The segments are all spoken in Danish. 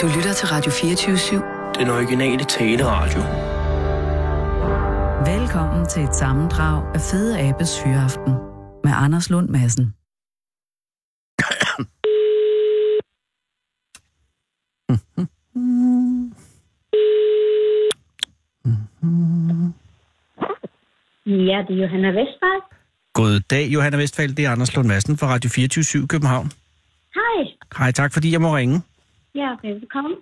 Du lytter til Radio 24 Den originale taleradio. Velkommen til et sammendrag af Fede Abes Hyreaften med Anders Lund Madsen. Ja, det er Johanna Vestberg. God dag, Johanna Vestfald. Det er Anders Lund Madsen fra Radio 24 København. Hej. Hej, tak fordi jeg må ringe. Ja, velkommen.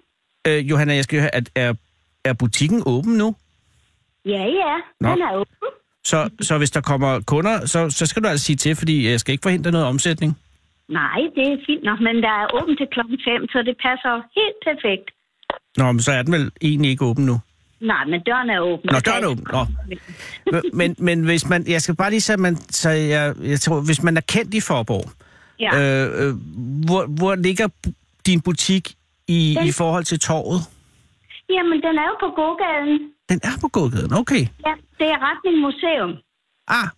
Øh, Johanna, jeg skal høre, at er, er butikken åben nu? Ja, ja. Nå. Den er åben. Så, så hvis der kommer kunder, så, så skal du altså sige til, fordi jeg skal ikke forhindre noget omsætning. Nej, det er fint nok, men der er åben til klokken 5, så det passer helt perfekt. Nå, men så er den vel egentlig ikke åben nu. Nej, men døren er åben. Nå, døren er åben. Nå. Men, men hvis man, jeg skal bare lige så, man, så jeg, jeg tror, hvis man er kendt i Forborg, Ja, øh. øh, øh, hvor, hvor ligger bu- din butik i, i forhold til torvet? Jamen, den er jo på gågaden. Den er på gågaden, okay. Ja, det er retning museum. Ah,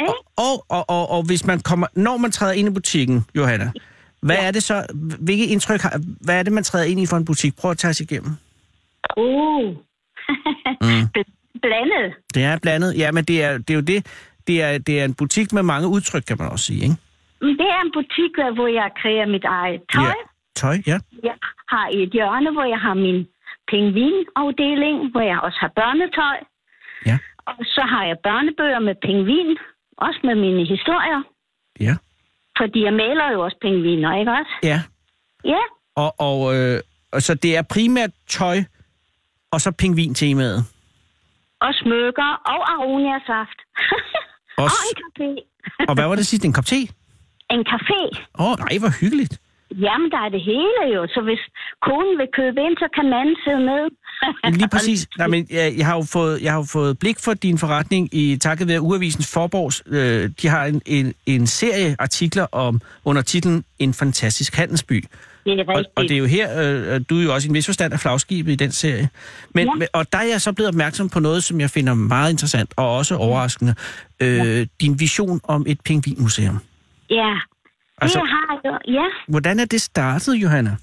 Ikke? Og, og, og, og hvis man kommer, når man træder ind i butikken, Johanna, hvad ja. er det så, hvilket indtryk har, hvad er det, man træder ind i for en butik? Prøv at tage os igennem. Uh. mm. Blandet. Det er blandet, ja, men det er, det er jo det, det er, det er en butik med mange udtryk, kan man også sige, ikke? Men Det er en butik, øh, hvor jeg kreerer mit eget tøj. Ja. Tøj, ja. Jeg har et hjørne, hvor jeg har min pingvinafdeling, hvor jeg også har børnetøj. Ja, Og så har jeg børnebøger med pingvin, også med mine historier. ja. Fordi jeg maler jo også pingviner, ikke også? Ja, Ja, og, og, øh, og så det er primært tøj, og så pingvin-temaet. og smykker og aroniasaft. Og og s- en café. Og hvad var det sidste? En kop te? En café. Åh, oh, nej, hvor hyggeligt. Jamen, der er det hele jo. Så hvis konen vil købe ind, så kan manden sidde med. Lige præcis. Nej, men jeg, jeg, har jo fået, jeg har jo fået blik for din forretning i takket være Uavisens Forborgs. Øh, de har en, en, en serie artikler om, under titlen En fantastisk handelsby. Det er Og, rigtigt. og det er jo her, øh, du er jo også i en vis forstand af flagskibet i den serie. Men, Ja. ja. Og der er jeg så blevet opmærksom på noget, som jeg finder meget interessant og også overraskende. Øh, ja. Din vision om et pingvinmuseum. Ja, Altså- altså... det har jeg jo. Ja. Hvordan er det startet, Johanna?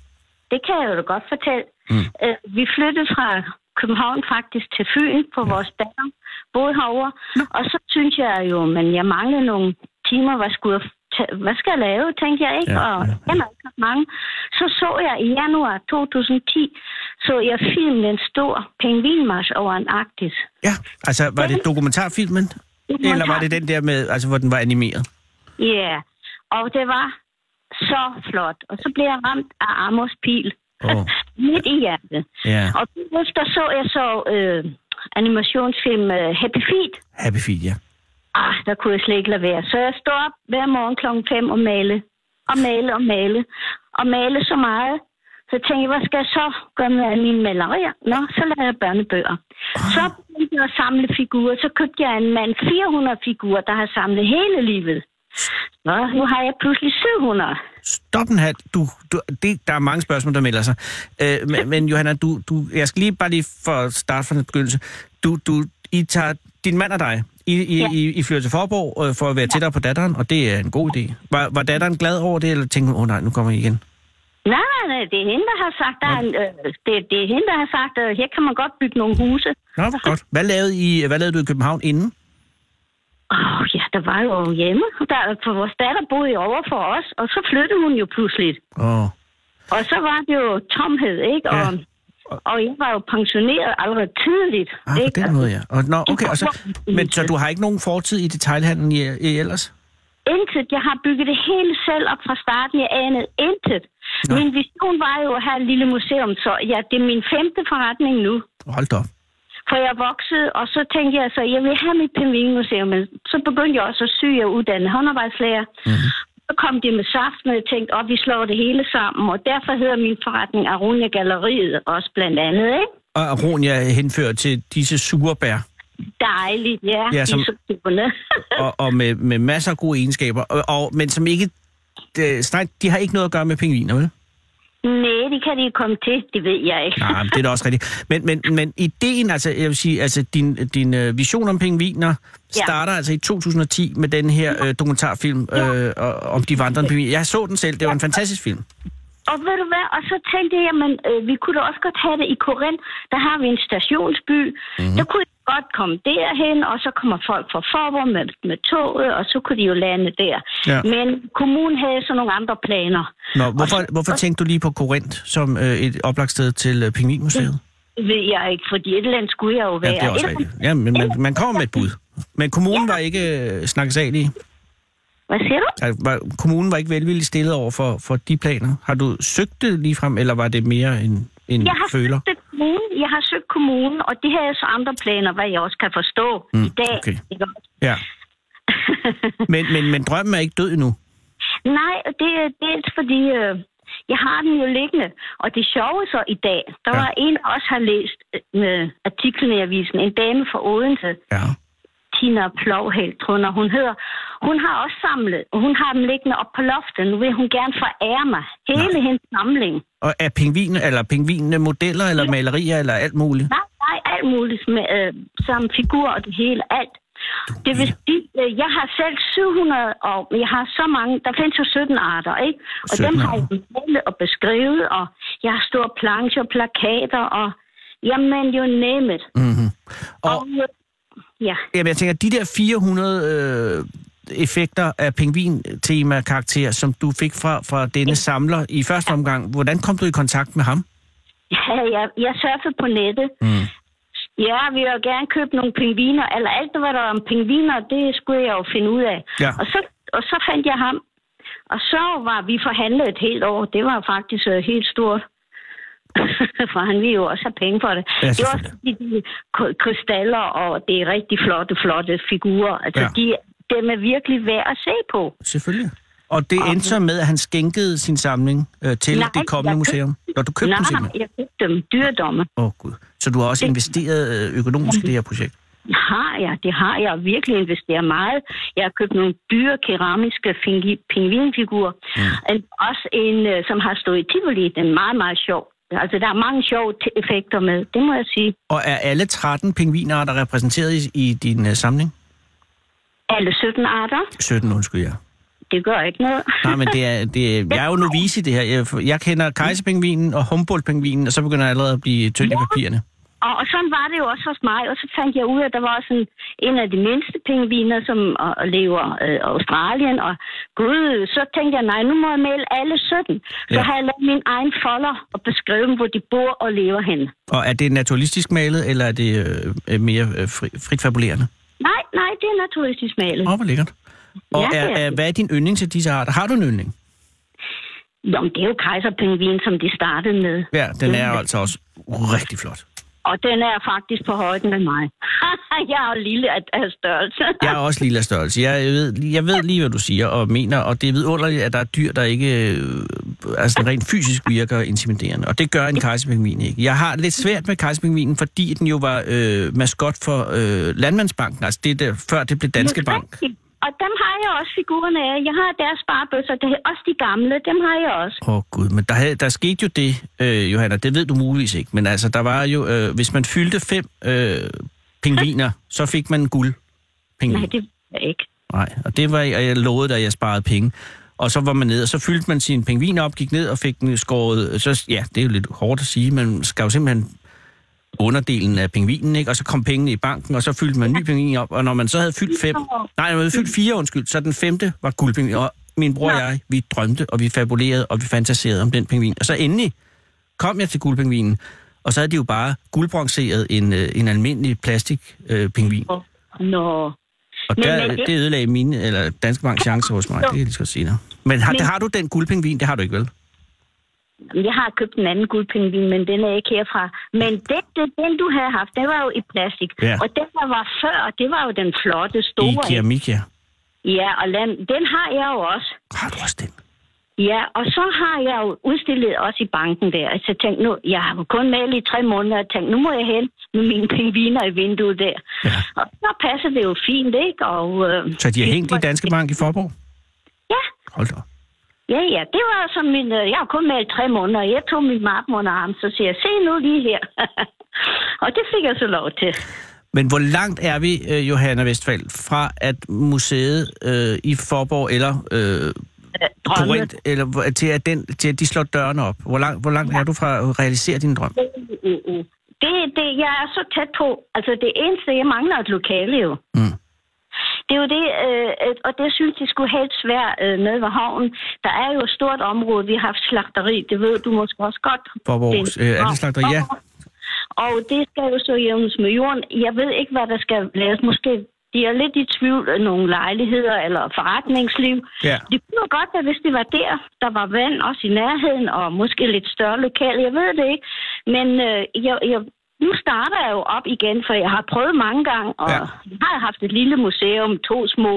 Det kan jeg jo da godt fortælle. Mm. Øh, vi flyttede fra København faktisk til Fyn på ja. vores datter, boede herovre. Og så synes jeg jo, men jeg manglede nogle timer, hvad, skulle jeg ta- hvad skal jeg lave, tænkte jeg ikke, Ja, ja, og ja, ja, ja. ja. ikke ret mange. Så så jeg i januar 2010, så jeg filmen en stor pingvinmarsch over Antarktis. Ja, altså var det dokumentarfilmen? Eller var Dokumentar. det den der med, altså hvor den var animeret? Ja, yeah. og det var så flot. Og så blev jeg ramt af Amors pil. Åh. Oh. Midt i hjertet. Ja. Og efter så jeg så øh, animationsfilm øh, Happy Feet. Happy Feet, ja. Ah, der kunne jeg slet ikke lade være. Så jeg står op hver morgen kl. 5 og male. Og male og male. Og male så meget. Så tænkte jeg, hvad skal jeg så gøre med alle mine malerier? Nå, så lader jeg børnebøger. Så begyndte jeg at samle figurer. Så købte jeg en mand 400 figurer, der har samlet hele livet. Nå, nu har jeg pludselig 700. Stop en halv. Du, du, det, der er mange spørgsmål, der melder sig. Øh, men, men Johanna, du, du, jeg skal lige bare lige for at starte fra den begyndelse. Du, du, I tager, din mand og dig, I, I, ja. Ja. I, I flytter til Forborg øh, for at være tættere på datteren, og det er en god idé. Var, var datteren glad over det, eller tænkte hun, åh oh, nej, nu kommer I igen? Nej, nej, nej, det er hende, der har sagt, der er en, øh, det, det er hende, der har sagt, øh, her kan man godt bygge nogle huse. Nå, hvor godt. Hvad lavede, I, hvad lavede du i København inden? Åh, oh, ja, der var jo hjemme. Der, for vores datter boede jo over for os, og så flyttede hun jo pludselig. Åh, ah, Og så var det jo tomhed, ikke? Og, Ja. ja. og jeg var jo pensioneret allerede tidligt. ah, på ikke? Altså, den måde, ja. Og, nå, okay, og så, København. men så du har ikke nogen fortid i detailhandlen i, i ellers? Intet. Jeg har bygget det hele selv op fra starten. Jeg anede intet. Nå. Nå. Min vision var jo at have et lille museum, så ja, det er min femte forretning nu. Hold da op. For jeg voksede, og så tænkte jeg så, jeg vil have mit pingvinmuseum. Men så begyndte jeg også at sy og uddanne håndarbejdslærer. Mhm. Mm-hmm. Så kom de med saften, og jeg tænkte, at vi slår det hele sammen. Og derfor hedder min forretning Aronia Galleriet også blandt andet, ikke? Og Aronia henfører til disse surebær. Dejligt, ja. Ja, som- isotyperne. og, og med, med masser af gode egenskaber, og, og, men som ikke... De, nej, de har ikke noget at gøre med pingviner, vel? Nej, det kan de ikke komme til. Det ved jeg ikke. Nej, men det er da også rigtigt. Men, men, men ideen, altså, jeg vil sige, altså din, din øh, vision om pingviner starter altså i 2010 med den her øh, dokumentarfilm øh, og- om de vandrende pingviner. Jeg så den selv, det var en fantastisk film. Og ved du hvad, og så tænkte jeg, jamen, øh, vi kunne da også godt have det i Korinth. Der har vi en stationsby. Mhm. Mm-hmm. Der kunne jeg godt komme derhen, og så kommer folk fra Forborg med, med toget, og så kunne de jo lande der. Ja. Ja. Men kommunen havde så nogle andre planer. Nå, hvorfor, hvorfor tænkte du lige på Korinth som øh, et oplagt sted til øh, Pingvinmuseet? Det ved jeg ikke, fordi et eller andet skulle jeg jo Ja, være. det er også Et eller andet- rigtigt. Ja, men man, man kommer med et bud. Men kommunen var ikke øh, snakkesalig. Hvad siger du? Altså, var, kommunen var ikke velvilligt stillet over for, for de planer. Har du søgt det ligefrem, eller var det mere en, en Jeg har, Mm, føler? søgt kommunen, jeg har søgt kommunen, og de havde så andre planer, hvad jeg også kan forstå Mm, i dag. okay. Ikke også? Ja. Men, men, men drømmen er ikke død endnu. Nej, og det er dels fordi, øh, jeg har den jo liggende. Og det sjove så i dag, der Ja. ja. var en, der også har læst øh, artiklen i avisen, en dame fra Odense, Ja. Tina Plovhæld, tror jeg, hun hedder. Hun har også samlet, og hun har dem liggende op på loftet. Nu vil hun gerne forære mig hele Nej. hendes samling. Og er pingvin, eller pingvinene modeller, eller malerier, eller alt muligt? Nej, nej, alt muligt med øh, samme figur og det hele, alt. Det vil sige, øh, jeg har selv 700, og jeg har så mange, der findes jo 17 arter, ikke? Og 17 dem har arter. jeg malet og beskrevet, og jeg har store plancher, plakater, og jamen, you name it. Mm-hmm. Og, Og øh, ja, jamen, jeg tænker, de der 400 øh, effekter af pingvin-tema-karakter, som du fik fra, fra denne samler i første omgang, hvordan kom du i kontakt med ham? ja jeg, jeg surfede på nettet. Mm. Ja, vi vil jo gerne købe nogle pingviner, eller alt, hvad der var om pingviner, det skulle jeg jo finde ud af. Ja. Og, så, og så fandt jeg ham, og så var vi forhandlet et helt år. Det var faktisk øh, helt stort, for han ville jo også have penge for det. Ja, det var også selvfølgelig. de, de k- krystaller, og det er rigtig flotte, flotte figurer. Altså, Ja. ja. de, dem er virkelig værd at se på. Selvfølgelig. Og det endte så med, at han skænkede sin samling øh, til Nej, det kommende jeg museum. Når du købte Nej, den simpelthen? jeg købte dem. Dyredomme. Åh, oh, Gud. Så du har også investeret øh, økonomisk Mhm. i det her projekt? Har jeg, det har jeg, og virkelig investeret meget. Jeg har købt nogle dyre keramiske fingi- pingvinfigurer, mm. også en, øh, som har stået i Tivoli, den er meget, meget sjov. Altså, der er mange sjove t- effekter med, det må jeg sige. Og er alle 13 pingvinarter repræsenteret i, i din øh, samling? Alle 17 arter, 17, undskyld, ja. det gør ikke noget. Nej, men det er, det er, jeg er jo novice i det her. Jeg, jeg kender kejserpingvinen og humboldt-pingvinen, og så begynder jeg allerede at blive tynd i papirerne. Og, og sådan var det jo også hos mig, og så fandt jeg ud af, at der var også en, en af de mindste pingviner, som og, og lever øh, Australien, og gud, så tænkte jeg, nej, nu må jeg male alle 17. Så Ja. ja. har jeg lavet min egen folder og beskrevet dem, hvor de bor og lever henne. Og er det naturalistisk malet, eller er det øh, øh, mere øh, fri, frit fabulerende? Nej, nej, det er naturligvis malet. Åh, oh, hvor lækkert. Og Ja, er, det er er, det. hvad er din yndling til disse arter? Har du en yndling? Nå, men det er jo kejserpingvin, som de startede med. Ja, den er altså også rigtig flot. Og den er faktisk på højden med mig. jeg er jo lille af, af størrelse. Jeg er også lille af størrelse. Jeg ved, jeg ved lige, hvad du siger og mener, og det er vidunderligt, at der er dyr, der ikke øh, altså rent fysisk virker intimiderende. Og det gør en kejserpingvin ikke. Jeg har lidt svært med kejserpingvinen, fordi den jo var øh, maskot for øh, Landmandsbanken, altså det der, før det blev Danske Bank. Og dem har jeg også figurerne af. Jeg har deres sparebøsser, det er også de gamle, dem har jeg også. Åh oh, gud, men der, havde, der skete jo det, øh, Johanna, det ved du muligvis ikke, men altså der var jo, øh, hvis man fyldte fem øh, pingviner, så fik man guld. Pingvin. Nej, det ved jeg ikke. Nej, og det var, og jeg lovede, at jeg sparede penge. Og så var man ned, og så fyldte man sin pingvin op, gik ned og fik den skåret. Så, ja, det er jo lidt hårdt at sige, men man skar jo simpelthen underdelen af pingvinen, ikke? Og så kom pengene i banken, og så fyldte man en ny pingvin op. Og når man så havde fyldt fem... Nej, når man havde fyldt fire, undskyld, så den femte var guldpingvin. Og min bror og jeg, vi drømte, og vi fabulerede, og vi fantaserede om den pingvin. Og så endelig kom jeg til guldpingvinen, og så havde de jo bare guldbronzeret en, øh, en almindelig plastikpingvin. Øh, pingvin. Nå. Og Men- der, men det... det- det ødelagde mine, eller Danske Bank chancer hos mig, det kan jeg lige så godt sige dig. Men har, men... Men- har du den guldpingvin? Det har du ikke, vel? Jamen, Jeg har købt en anden guldpingvin, men den er ikke herfra. Men den, den, den du havde haft, den var jo i plastik. Ja. Og den, der var før, det var jo den flotte, I store. keramik, ja. Ja, og land, den har jeg jo også. Har du også den? Ja, og så har jeg jo udstillet også i banken der. Altså, jeg tænkte nu, jeg har jo kun malet i tre måneder, og tænkte, nu må jeg hen med mine pingviner i vinduet der. Ja. Og så passer det jo fint, ikke? Og, øh, Så de har hængt i Danske Bank i Forborg? Ja, Hold da op. ja, ja. Det var som min... øh, Jeg har kun malet i tre måneder, og jeg tog min mappen under armen, så siger jeg, se nu lige her. og det fik jeg så lov til. Men hvor langt er vi, øh, Johanna Vestfald, fra at museet øh, i Forborg eller øh, øh, drømme. Korinth, eller hvor- til at, den, til at de slår dørene op? Hvor langt, hvor langt er du fra at realisere din drøm? Mm, mm, mm. Det, det, jeg er så tæt på. Altså, det eneste, jeg mangler, er et lokale jo. Mm. Det er jo det, øh, at- og det synes jeg skulle helst være øh, nede ved havnen. Der er jo et stort område, vi har haft slagteri, det ved du måske også godt. For vores øh, andelslagter, ja. Og det skal jo så jævnes med jorden. Jeg ved ikke, hvad der skal laves. Måske de er lidt i tvivl af nogle lejligheder eller forretningsliv. Ja. Det kunne jo godt være, hvis det var der, der var vand også i nærheden, og måske lidt større lokal, jeg ved det ikke. Men øh, jeg, jeg, nu starter jeg jo op igen, for jeg har prøvet mange gange, og Ja. ja. jeg har haft et lille museum, to små,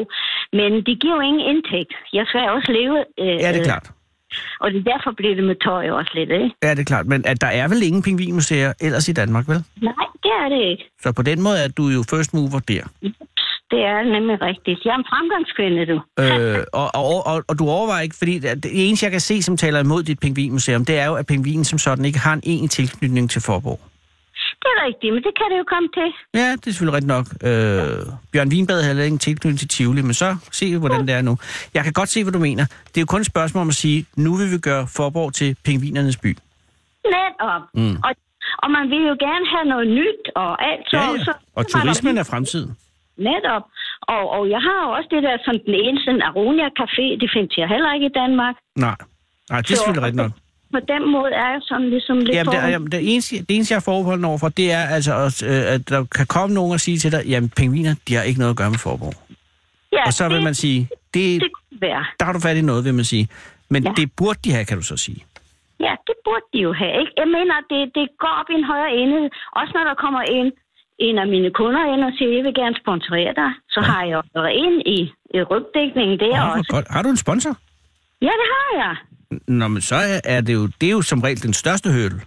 men det giver jo ingen indtægt. Jeg skal jo også leve, øh, Ja, det er øh, klart. og det er derfor bliver det med tøj også lidt, ikke? Ja, det er klart. Men at der er vel ingen pingvinmuseer ellers i Danmark, vel? Nej, det er det ikke. Så på den måde er du jo first mover der. Det er nemlig rigtigt. Jeg er en fremgangskvinde, du. Øh, og, og, og, og du overvejer ikke, fordi det det eneste, jeg kan se, som taler imod dit pingvinmuseum, det er jo, at pingvinen som sådan ikke har en egentlig tilknytning til Forborg. Det er rigtigt, men det kan det jo komme til. Ja, det er selvfølgelig rigtigt nok. Øh, Bjørn Wienbad havde heller ingen tilknytning til Tivoli, men så se, vi, hvordan det er nu. Jeg kan godt se, hvad du mener. Det er jo kun et spørgsmål om at sige, nu vil vi gøre Forborg til pingvinernes by. Netop. Mm. Og, og man vil jo gerne have noget nyt og alt. Så, så Og så var der- turismen er fremtiden. Netop. Og, og jeg har jo også det der som den eneste Aronia Café. Det findes jeg heller ikke i Danmark. Nej, Nej det er selvfølgelig rigtigt nok. På den måde er jeg sådan ligesom lidt Jamen, forud- det, jamen, det, eneste, det eneste, jeg er forbeholden overfor, det er altså, også, øh, at der kan komme nogen og sige til dig, jamen, pingviner, de har ikke noget at gøre med Forborg. ja, Og så vil det, man sige, det, Det kunne være. der har du fat i noget, vil man sige. Men Ja. det burde de have, kan du så sige. Ja, det burde de jo have. Ikke? Jeg mener, det, det går op i en højere ende. Også når der kommer en, en af mine kunder ind og siger, jeg vil gerne sponsorere dig. Så har jeg jo været ind i, i rygdækningen der Åh, hvor også. godt. Har du en sponsor? Ja, det har jeg. Nå, men så er- er det jo, det er jo som regel den største hørdel.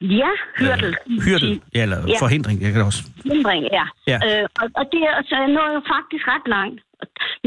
Ja, hyrdel. Hyrdel, ja, eller Ja. forhindring, jeg kan også. Hindring, ja. Ja. ja. Øh, og, og det er så jeg nåede jo faktisk ret langt.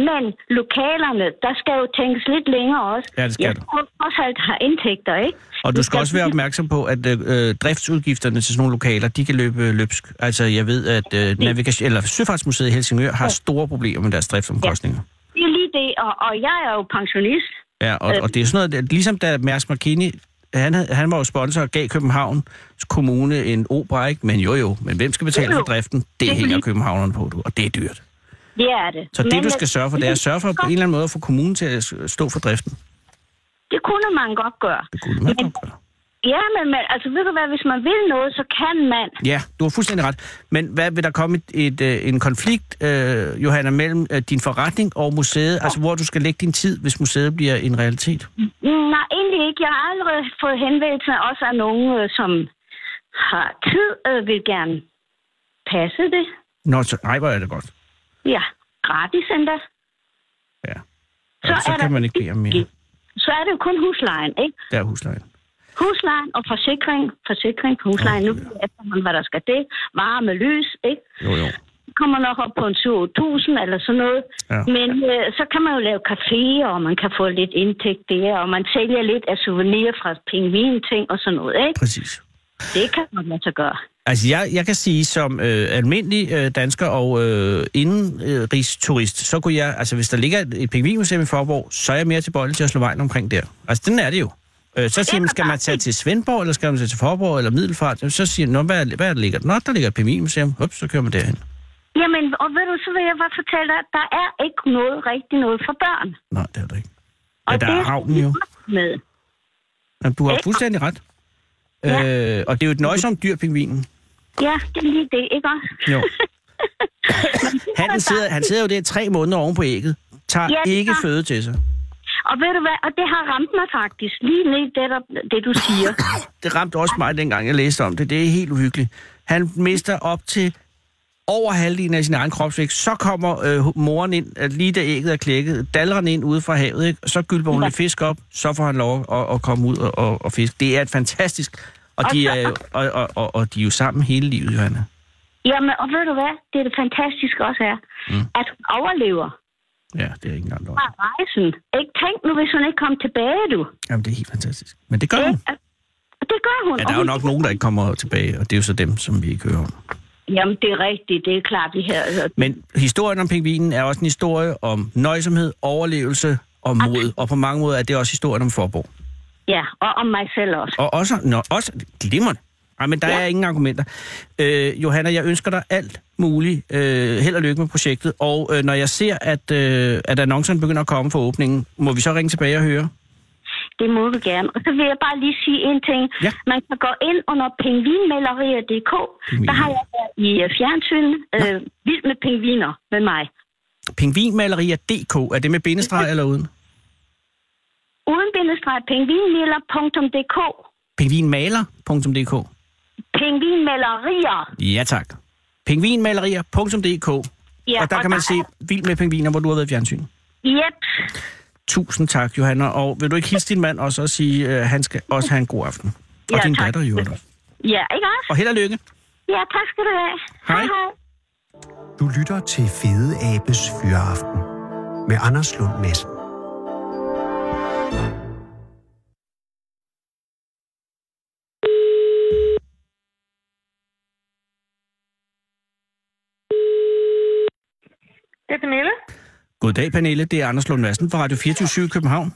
Men lokalerne, der skal jo tænkes lidt længere også. Ja, det skal jeg der. skal jo trods alt have indtægter, ikke? Og du skal også være opmærksom. opmærksom på, at øh, driftsudgifterne til sådan nogle lokaler, de kan løbe øh, løbsk. Altså, jeg ved, at øh, Navigation, eller Søfartsmuseet i Helsingør har store problemer med deres driftsomkostninger. Det er lige det, og, og jeg er jo pensionist. Ja, og, Øhm. og det er sådan noget, at ligesom da Mærsk Markini, han, havde- han var jo sponsor og gav Københavns Kommune en opera, ikke? Men jo jo, men hvem skal betale Jo, for jo. driften? Det er hænger lige- københavnerne på, du, og det er dyrt. Det er det. Så det, Men, du skal øh, sørge for, det er at sørge for på en eller anden måde at få kommunen til at s- stå for driften. Det kunne man godt gøre. Det kunne man Men- godt gøre. Ja, men man, altså ved du hvad, hvis man vil noget, så kan man. Ja, du har fuldstændig ret. Men hvad vil der komme et, et, øh, en konflikt, øh, Johanna, mellem øh, din forretning og museet? Altså, hvor du skal lægge din tid, hvis museet bliver en realitet? Mm, Nej, egentlig ikke. Jeg har allerede fået henvendelser også af nogen, øh, som har tid, øh, vil gerne passe det. Nå, så, nej, hvor er det godt. Ja, gratis endda. Ja. Så Så, så er der- kan man ikke bede om mere. Så er det jo kun huslejen, ikke? Der er huslejen. Huslejen og forsikring, forsikring på huslejen. Nu ved jeg efterhånden, hvad der skal det. Varer med lys, ikke? Jo, jo. Det kommer nok op på en 7.000 eller sådan noget. Ja. Men øh, så kan man jo lave caféer, og man kan få lidt indtægt der, og man sælger lidt af souvenirer fra pingvin-ting og sådan noget, ikke? Præcis. Det kan man altså gøre. Altså, jeg, jeg kan sige, som øh, almindelig øh, dansker og øh, indenrigsturist, så kunne jeg, altså hvis der ligger et, et pingvinmuseum i Forborg, så er jeg mere tilbøjelig til at slå vejen omkring der. Altså, den er det jo. Øh, så siger man, skal man tage til Svendborg, eller skal man tage til Forborg, eller Middelfart? Så siger man, hvad, er- hvad er der ligger? Nå, der ligger et pingvinmuseum. Hups, så kører man derhen. Jamen, og ved du, så vil jeg bare fortælle dig, at der er ikke noget rigtig noget for børn. Nej, det er der ikke. Og Ja, der det er havnen jo. Med. Jamen, du har Ikke? fuldstændig ret. Ja. Øh, og det er jo et nøjsomt dyr, pingvinen. Ja, det er lige det, ikke også? Jo. han, sidder, han sidder jo der tre måneder oven på ægget. Tager Ja, det ikke gør- føde til sig. Og ved du hvad, og det har ramt mig faktisk, lige ned det, der, det du siger. det ramte også mig, dengang jeg læste om det. Det er helt uhyggeligt. Han mister op til over halvdelen af sin egen kropsvægt. Så kommer øh, moren ind, at lige da ægget er klækket, dalrende ind ude fra havet, ikke? og så gylper hun Ja. lidt fisk op, så får han lov at, at komme ud og, og, og fiske. Det er et fantastisk... Og de, Og så- er, jo- og, og, og, og de er jo sammen hele livet, Johanna. Jamen, og ved du hvad, det er det fantastiske også er, mm. at hun overlever Ja, det er ikke engang løgn. fra rejsen. Ikke tænk nu, hvis hun ikke kom tilbage, du. Jamen, det er helt fantastisk. Men det gør hun. Ikke? Og Det gør hun. Mm. Ja, og der er jo hun- nok nogen, der ikke kommer tilbage, og det er jo så dem, som vi ikke hører om. Jamen, det er rigtigt. Det er klart, det her. Men historien om pingvinen er også en historie om nøjsomhed, overlevelse og mod. Og på mange måder er det også historien om Forborg. Ja, og om mig selv også. Og også, nå, også glimrende. Ej, men der ja. Ja. er ingen argumenter. Øh, Johanna, jeg ønsker dig alt muligt. Øh, held og lykke med projektet. Og øh, når jeg ser, at, øh, at annoncerne begynder at komme for åbningen, må vi så ringe tilbage og høre? Det må vi gerne. Og så vil jeg bare lige sige en ting. Ja. Man kan gå ind under pingvinmalerier.dk. Der har jeg været i øh, fjernsyn. Øh, vild med pingviner med mig. Pingvinmalerier.dk, er det med bindestreg eller uden? Uden bindestreg pingvinmaler.dk. Pingvinmaler.dk Pingvinmalerier. Ja tak. Pingvinmalerier.dk Ja, Og der kan man se Vild med pingviner, hvor du har været i fjernsyn. Yep. Tusind tak, Johanna. Og vil du ikke hilse din mand også og sige, at han skal også have en god aften? Og Ja, din tak. datter, i øvrigt også. Ja, ikke også? Og held og lykke. Ja, tak skal du have. Hej. hej. Du lytter til Fede Abes Fyraften med Anders Lund Madsen. Det er Pernille. Goddag, Pernille. Det er Anders Lund Madsen fra Radio 24 i København.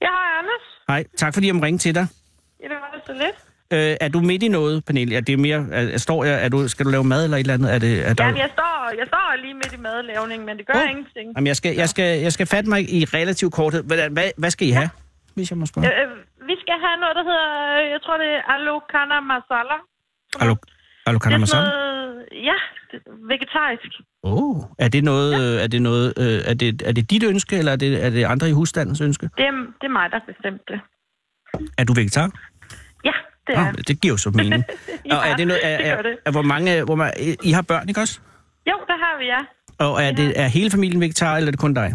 Jeg har Anders. Hej, tak fordi jeg må ringe til dig. Ja, det var det så lidt. Øh, er du midt i noget, Pernille? Er det mere, er, er- står jeg, er du, skal du lave mad eller et eller andet? Er det, er der... Ja, jeg står, jeg står lige midt i madlavning, men det gør Åh. oh. ingenting. Jamen, jeg skal, jeg, skal, jeg skal fatte mig i relativ korthed. Hvad, hvad, hvad skal I have, hvis jeg må spørge? Øh, øh, vi skal have noget, der hedder, øh, jeg tror det er alokana masala. Hallo, hallo, kan det man er sådan sådan? noget, ja, det, vegetarisk. Oh. Er det noget, øh, er det noget, øh, er det, er det dit ønske, eller er det, er det andre i husstandens ønske? Det er, det er mig, der bestemte det. Er du vegetar? Ja, det er. Ja. Oh, det giver jo så mening. Ja, og er det noget, er, det er, gør det. er, hvor mange, hvor man, I har børn, ikke også? Jo, der har vi, ja. Og er, det, er hele familien vegetar, eller er det kun dig?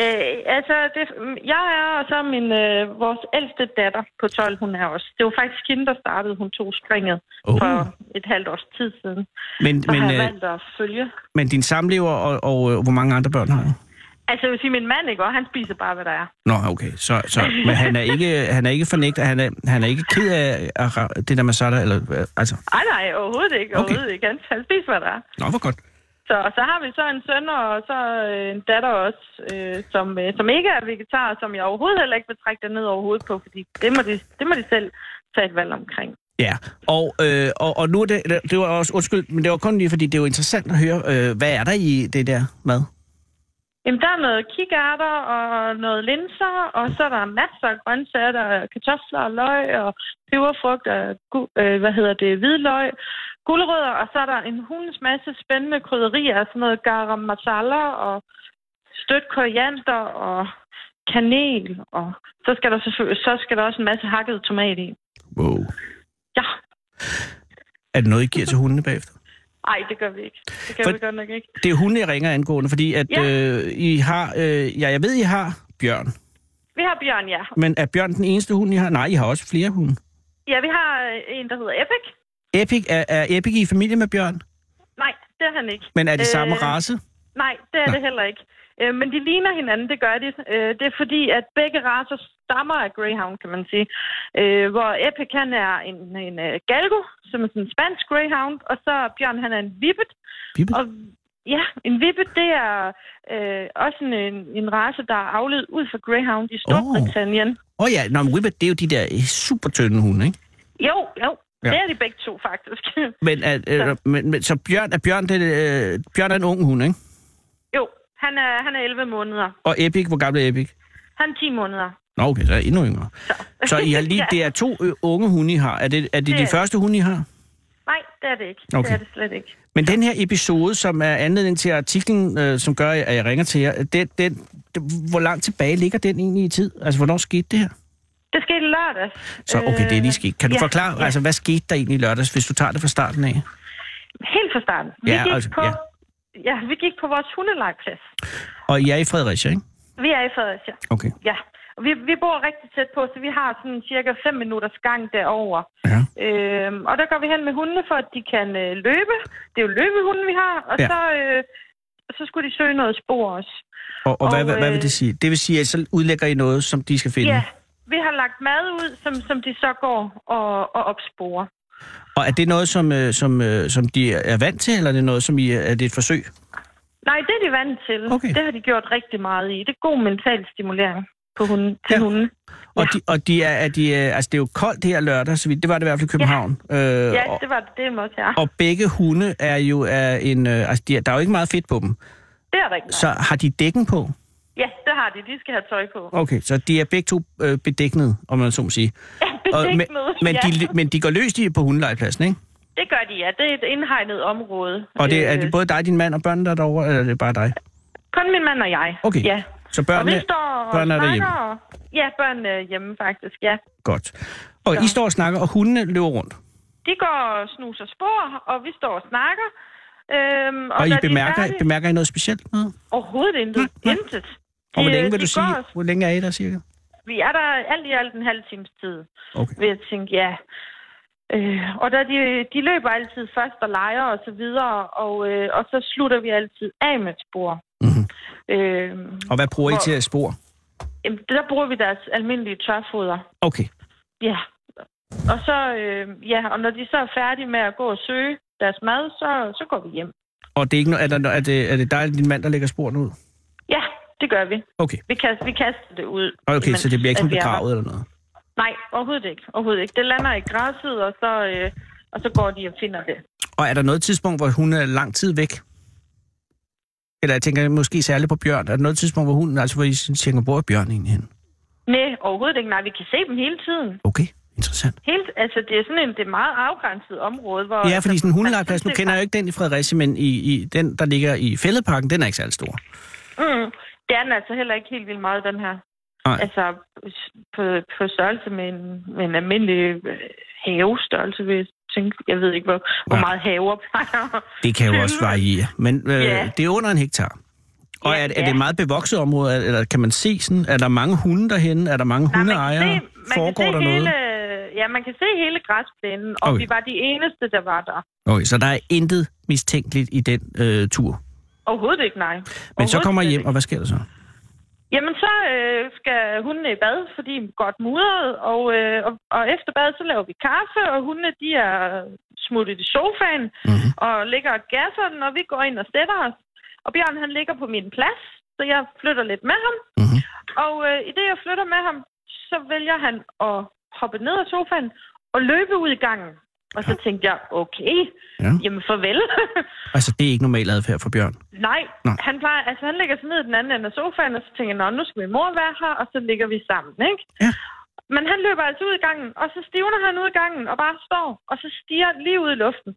Øh, altså, det, jeg er, og så er min, øh, vores ældste datter på 12, hun er også. Det var faktisk hende, der startede, hun tog springet Åh. oh. for et halvt års tid siden. Men, Så Men, har men, jeg øh, valgt at følge men din samlever og, og øh, hvor mange andre børn har du? Altså, jeg vil sige, min mand, ikke? Og han spiser bare, hvad der er. Nå, okay. Så, så, men han er ikke, han er ikke fornægtet, han er, han er ikke ked af, af ra- det der masala, eller hvad? altså... Ej, nej, overhovedet ikke. Okay. Overhovedet ikke. Han, han spiser, hvad der er. Nå, hvor godt. Så, og så har vi så en søn og så øh, en datter også, øh, som, øh, som ikke er vegetar, og som jeg overhovedet heller ikke vil trække det ned overhovedet på, fordi det må de, det må de selv tage et valg omkring. Ja, og, øh, og, og nu er det, det var også, undskyld, men det var kun lige, fordi det er jo interessant at høre, øh, hvad er der i det der mad? Jamen, der er noget kikærter og noget linser, og så er der masser af grøntsager. Der er kartofler og løg og peberfrugt og, gu- øh, hvad hedder det, hvidløg, gulerødder, og så er der en hulens masse spændende krydderier, sådan noget garam masala og stødt koriander og kanel, og så skal der selvfølgelig, så skal der også en masse hakket tomat i. Wow. Ja, Er det noget, I giver til hundene bagefter? ej, det gør vi ikke. Det gør For- For... vi godt nok ikke. Det er hunde, jeg ringer angående, fordi at Ja. øh, I har, øh, ja, jeg ved, I har bjørn, Vi har Bjørn, ja. men er bjørn den eneste hund, I har? Nej, I har også flere hunde. Ja, vi har øh, en, der hedder Epic. Epic, er, er Epic i familie med bjørn? Nej, det er han ikke. Men er de øh... Øh, samme race? Nej, det er Nej. Nej. det heller ikke. Øh, men de ligner hinanden, det gør de. Øh, det er fordi, at begge racer stammer af Greyhound, kan man sige. Øh, hvor Epic, han er en, en uh, galgo, som er sådan en spansk Greyhound, og så er Bjørn, han er en vippet. Vippet? Og, ja, en vippet, det er øh, også en, en, en race, der er afledt ud fra Greyhound i Storbritannien. Åh Oh. oh, ja, Nå, men Whippet, det er jo de der øh, super tynde hunde, ikke? Jo, jo. Ja. Ja. Det er de begge to, faktisk. Men, er, øh, men, men så bjørn er, bjørn, det, øh, bjørn er en ung hund, ikke? jo, han er, han er 11 måneder. Og Epic, hvor gammel er Epic? Han er 10 måneder. Nå, okay, så er jeg endnu yngre. Så, så I har lige, Ja. det er to ø, unge hunde, I har. Er det, er det, Det de er- første hunde, I har? Nej, det er det ikke. Okay. Det er det slet ikke. Men den her episode, som er anledning til artiklen, øh, som gør, at jeg ringer til jer, den, den, den, hvor langt tilbage ligger den egentlig i tid? Altså, hvornår skete det her? Det skete lørdag. Så okay, det er lige sket. Kan du Øh, ja, forklare, altså, hvad skete der egentlig i lørdags, hvis du tager det fra starten af? Helt fra starten. Vi Ja, ja, gik altså, altså, på, ja. ja. ja, vi gik på vores hundelegeplads. Og I er i Fredericia, ikke? Vi er i Fredericia. Okay. Ja. Og vi, vi bor rigtig tæt på, så vi har sådan cirka 5 minutters gang derover. Ja. Øhm, og der går vi hen med hundene, for at de kan øh, løbe. Det er jo løbehunden, vi har. Og Ja. ja. så, øh, så skulle de søge noget spor også. Og, og, hvad, Og, hvad, hvad vil det øh, sige? Det vil sige, at så udlægger I noget, som de skal finde. Ja, vi har lagt mad ud, som, som de så går og, og opsporer. Og er det noget, som, øh, som, øh, som de er vant til, eller er det noget, som I, er det et forsøg? Nej, det er de vant til. Okay. Det har de gjort rigtig meget i. Det er god mental stimulering på hunden, til Ja. ja. hunden. Og, de, og de er, er de, øh, altså det er jo koldt her lørdag, så vidt, det var det i hvert fald i København. Øh, Ja, og, det var det er også, ja. og begge hunde er jo af en, øh, altså de, er- der er jo ikke meget fedt på dem. Det er rigtigt. Så har de dækken på? Ja, det har de. De skal have tøj på. Okay, så de er begge to øh, bedæknet, om man så må sige. Og, men, Bedæknet, men, ja. de, men de går løst i på hundelegepladsen, ikke? Det gør de, ja. Det er et indhegnet område. Og det, er Øh, det både dig, din mand og børnene, der er derovre, eller er det bare dig? Kun min mand og jeg. Okay. Ja. Så og børnene, vi står og børnene er derhjemme. snakker. og- Ja, børnene er hjemme faktisk, ja. Godt. Og I står og snakker, og hundene løber rundt. De går og snuser spor, og vi står og snakker. Øhm, Og, og I når de er bemærker, færdige- bemærker I noget specielt? Noget? Overhovedet intet. Intet. Og hvor De, længe øh, vil de du sige? går og- Hvor længe er I der cirka? Vi er der alt i alt en halv times tid. Okay. ved at tænke, ja. Øh, og der, de, de løber altid først og leger og så videre, og, øh, og så slutter vi altid af med et spor. Mhm. Øh, Og hvad bruger I Hvor- til at spore? jamen, der bruger vi deres almindelige tørfoder. Okay. Ja. Og så, øh, ja, og når de så er færdige med at gå og søge deres mad, så, så går vi hjem. Og det er, ikke no- er, der, er, det, er det dig eller din mand, der lægger sporene ud? Ja, det gør vi. Okay. Vi, kast, vi kaster det ud. Okay, imens, så det bliver ikke at vi sådan er der. begravet eller noget? Nej, overhovedet ikke. Overhovedet ikke. Det lander i græsset, og så, øh, og så går de og finder det. Og er der noget tidspunkt, hvor hun er lang tid væk? Eller jeg tænker måske særligt på Bjørn. Er der noget tidspunkt, hvor hun, altså hvor I sådan tænker, hvor er Bjørn egentlig henne? Nej, overhovedet ikke. Nej, vi kan se dem hele tiden. Okay, interessant. Helt, altså, det er sådan en, det er meget afgrænset område, hvor... Altså, Ja, fordi sådan en man hundelegeplads, nu synes, det kender jeg jo ikke den i Fredericia, men i, i den, der ligger i Fælledparken, den er ikke særlig stor. Mm, det er den altså heller ikke helt vildt meget, den her. Nej. Altså, på, på størrelse med en, med en almindelig øh, havestørrelse, vil jeg tænke. Jeg ved ikke, hvor, hvor Nej. meget haver plejer. Det kan jo også variere, men øh, Ja. det er under en hektar. Og Ja, er, det- er det ja. et meget bevokset område, Er- eller kan man se sådan, er der mange hunde derhen, er der mange Nej, man kan hundeejere, se- man foregår kan se der noget? hele, Ja, man kan se hele græsplænen, og Okay. okay. vi var de eneste, der var der. Okay, så der er intet mistænkeligt i den øh, tur. Overhovedet ikke, nej. Men så Overhovedet kommer I slet hjem, ikke. og hvad sker der så? Jamen, så øh, skal hundene i bad, fordi de er godt mudret, og, øh, og, og efter bad, så laver vi kaffe, og hundene, de er smuttet i sofaen Mhm. mm-hmm. og ligger og gasser den, og vi går ind og sætter os. Og Bjørn, han ligger på min plads, så jeg flytter lidt med ham. Mhm. Og øh, i det, jeg flytter med ham, så vælger han at hoppe ned af sofaen og løbe ud i gangen. Og så tænkte jeg, okay, Ja. ja. jamen farvel. Altså, det er ikke normal adfærd for Bjørn. Nej, Nå. han, plejer, altså, han ligger sig ned i den anden ende af sofaen, og så tænker jeg, "Nå, nu skal min mor være her, og så ligger vi sammen, ikke? Ja. Men han løber altså ud i gangen, og så stivner han ud i gangen og bare står, og så stiger lige ud i luften.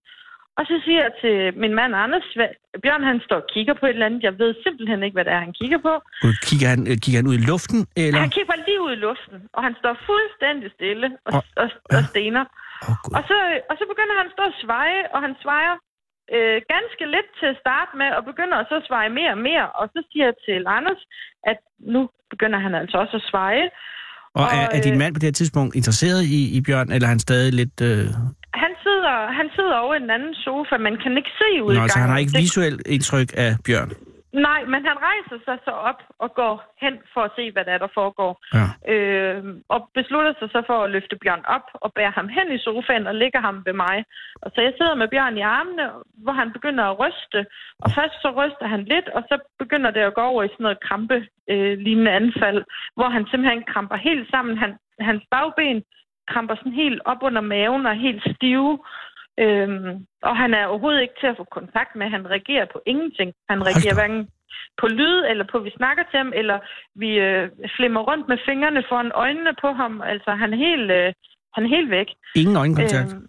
Og så siger jeg til min mand Anders, hvad, Bjørn han står og kigger på et eller andet, jeg ved simpelthen ikke, hvad det er, han kigger på. Gud, Kigger han, øh, kigger han ud i luften, eller? Ja. Han kigger lige ud i luften, og han står fuldstændig stille og, Og- og, og, og stener. Åh, oh, Gud. Og så, og så begynder han at stå og sveje, og han svejer øh, ganske lidt til at starte med, og begynder så at sveje mere og mere. Og så siger jeg til Anders, at nu begynder han altså også at sveje. Og er, er og, din øh, mand på det her tidspunkt interesseret i, i Bjørn, eller er han stadig lidt... Øh... Han sidder, han sidder over i en anden sofa, man kan ikke se ud Nå, i altså, gangen. han har ikke Det- visuelt indtryk af Bjørn. Nej, men han rejser sig så op og går hen for at se, hvad der, er, der foregår. Ja. Øh, og beslutter sig så for at løfte Bjørn op og bære ham hen i sofaen og lægger ham ved mig. Og så jeg sidder med Bjørn i armene, hvor han begynder at ryste. Og først så ryster han lidt, og så begynder det at gå over i sådan noget krampe øh, lignende anfald, hvor han simpelthen kramper helt sammen. Han, hans bagben kramper sådan helt op under maven og er helt stive. Øhm, og han er overhovedet ikke til at få kontakt med. Han reagerer på ingenting. Han reagerer da op. hverken på lyd, eller på, at vi snakker til ham, eller vi øh, flimmer rundt med fingrene foran øjnene på ham. Altså, han er helt, øh, han er helt væk. Ingen øjenkontakt. Øhm,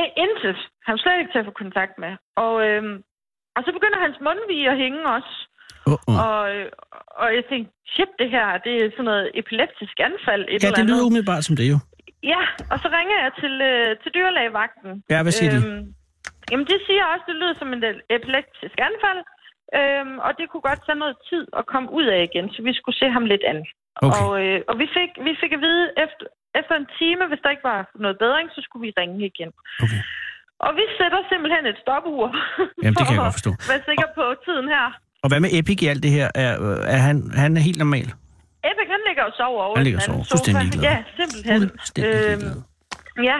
i- intet. Han er slet ikke til at få kontakt med. Og, øhm, og så begynder hans mundvige at hænge også. Åh, åh. Og, øh, og jeg tænkte, shit, det her, det er sådan noget epileptisk anfald. Et Ja, eller det lyder andet. umiddelbart som det jo. Ja, og så ringer jeg til, øh, til dyrlægevagten. Ja, hvad siger Øhm, de? Jamen, de siger også, at det lyder som en epileptisk anfald, øhm, og det kunne godt tage noget tid at komme ud af igen, så vi skulle se ham lidt an. Okay. Og, øh, og vi, fik, vi fik at vide, efter, efter en time, hvis der ikke var noget bedring, så skulle vi ringe igen. Okay. Og vi sætter simpelthen et stopur. Jamen, det kan jeg for godt forstå. at Være sikker på tiden her. Og hvad med Epic i alt det her? Er, er han, han er helt normal? Ebbe, han ligger og sover over Han i ligger den og sover. anden Fuldstændig ligeglad. Ja, simpelthen. Øhm, Fuldstændig ligeglad. ja,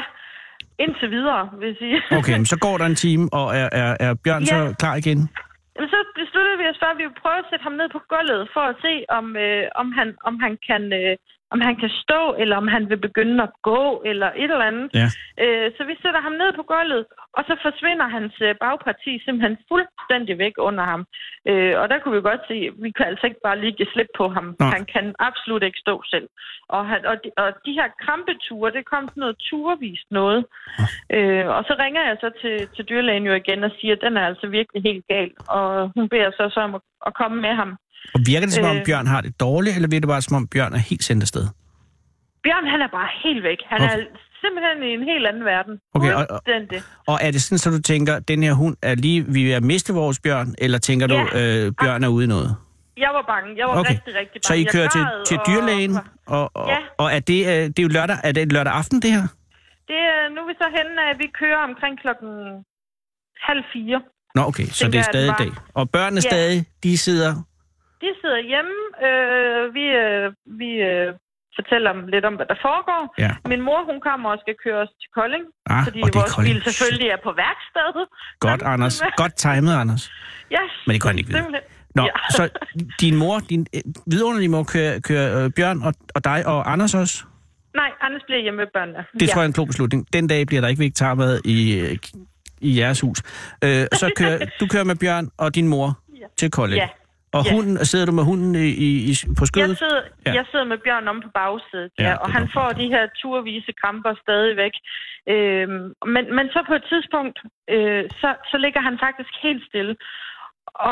indtil videre, vil jeg sige. Okay, men så går der en time, og er, er, er Bjørn Ja. så klar igen? Jamen, så besluttede vi os for, at vi ville prøve at sætte ham ned på gulvet for at se, om, øh, om, han, om, han, kan, øh, om han kan stå, eller om han vil begynde at gå, eller et eller andet. Ja. Øh, så vi sætter ham ned på gulvet, og så forsvinder hans øh, bagparti simpelthen fuldstændig væk under ham. Øh, og der kunne vi godt se, at vi kan altså ikke bare lige give slip på ham. Nej. Nej. Han kan absolut ikke stå selv. Og, han, og, de, og de her krampeture, det kom sådan noget turvist noget. Øh, og så ringer jeg så til, til dyrlægen jo igen og siger, at den er altså virkelig helt gal. Og hun beder så, så om at, at komme med ham. Og virker det, som om Øh. Bjørn har det dårligt, eller virker det bare, som om Bjørn er helt sendt afsted? Bjørn, han er bare helt væk. Han er simpelthen i en helt anden verden. Okay, og- og- Fuldstændig. Og er det sådan, så du tænker, den her hund er lige, vi er ved at miste vores Bjørn, eller tænker du, Ja. øh, Bjørn er ude i noget? Jeg var bange. Jeg var Okay. okay. rigtig, rigtig bange. Så I Jeg kører til, græd, til og- dyrlægen, og, og, Ja. og er det, øh, det er jo lørdag, er det lørdag aften, det her? Det, er- nu er vi så henne, at vi kører omkring klokken halv fire. Nå, okay, så det er Tænker jeg, det stadig var. dag. Og børnene Ja. stadig, de sidder... De sidder hjemme. Øh, vi øh, vi øh, fortæller dem lidt om, hvad der foregår. Ja. Min mor, hun kommer og skal køre os til Kolding, Ah, fordi og det er vores Kolding. bil selvfølgelig er på værkstedet. Godt, Anders. Godt timet, Anders. Ja, Men det kunne han ikke vide. simpelthen. Nå, Ja. så din mor, din øh, vidunderlige mor, kører, kører øh, Bjørn og, og dig og Anders også? Nej, Anders bliver hjemme med børnene. Det tror jeg er en klog beslutning. Den dag bliver der ikke vegetarmad i, øh, i jeres hus. Øh, så kører, du kører med Bjørn og din mor ja. til Kolding. Ja. Og Ja. hunden, sidder du med hunden i, i, i- på Jeg skødet? sidder, Ja. ja. jeg sidder med Bjørn om på bagsædet, Ja, ja, ja, det og er han godt. får de her turvise kramper stadigvæk. Øhm, men, men så på et tidspunkt, øh, så, så ligger han faktisk helt stille.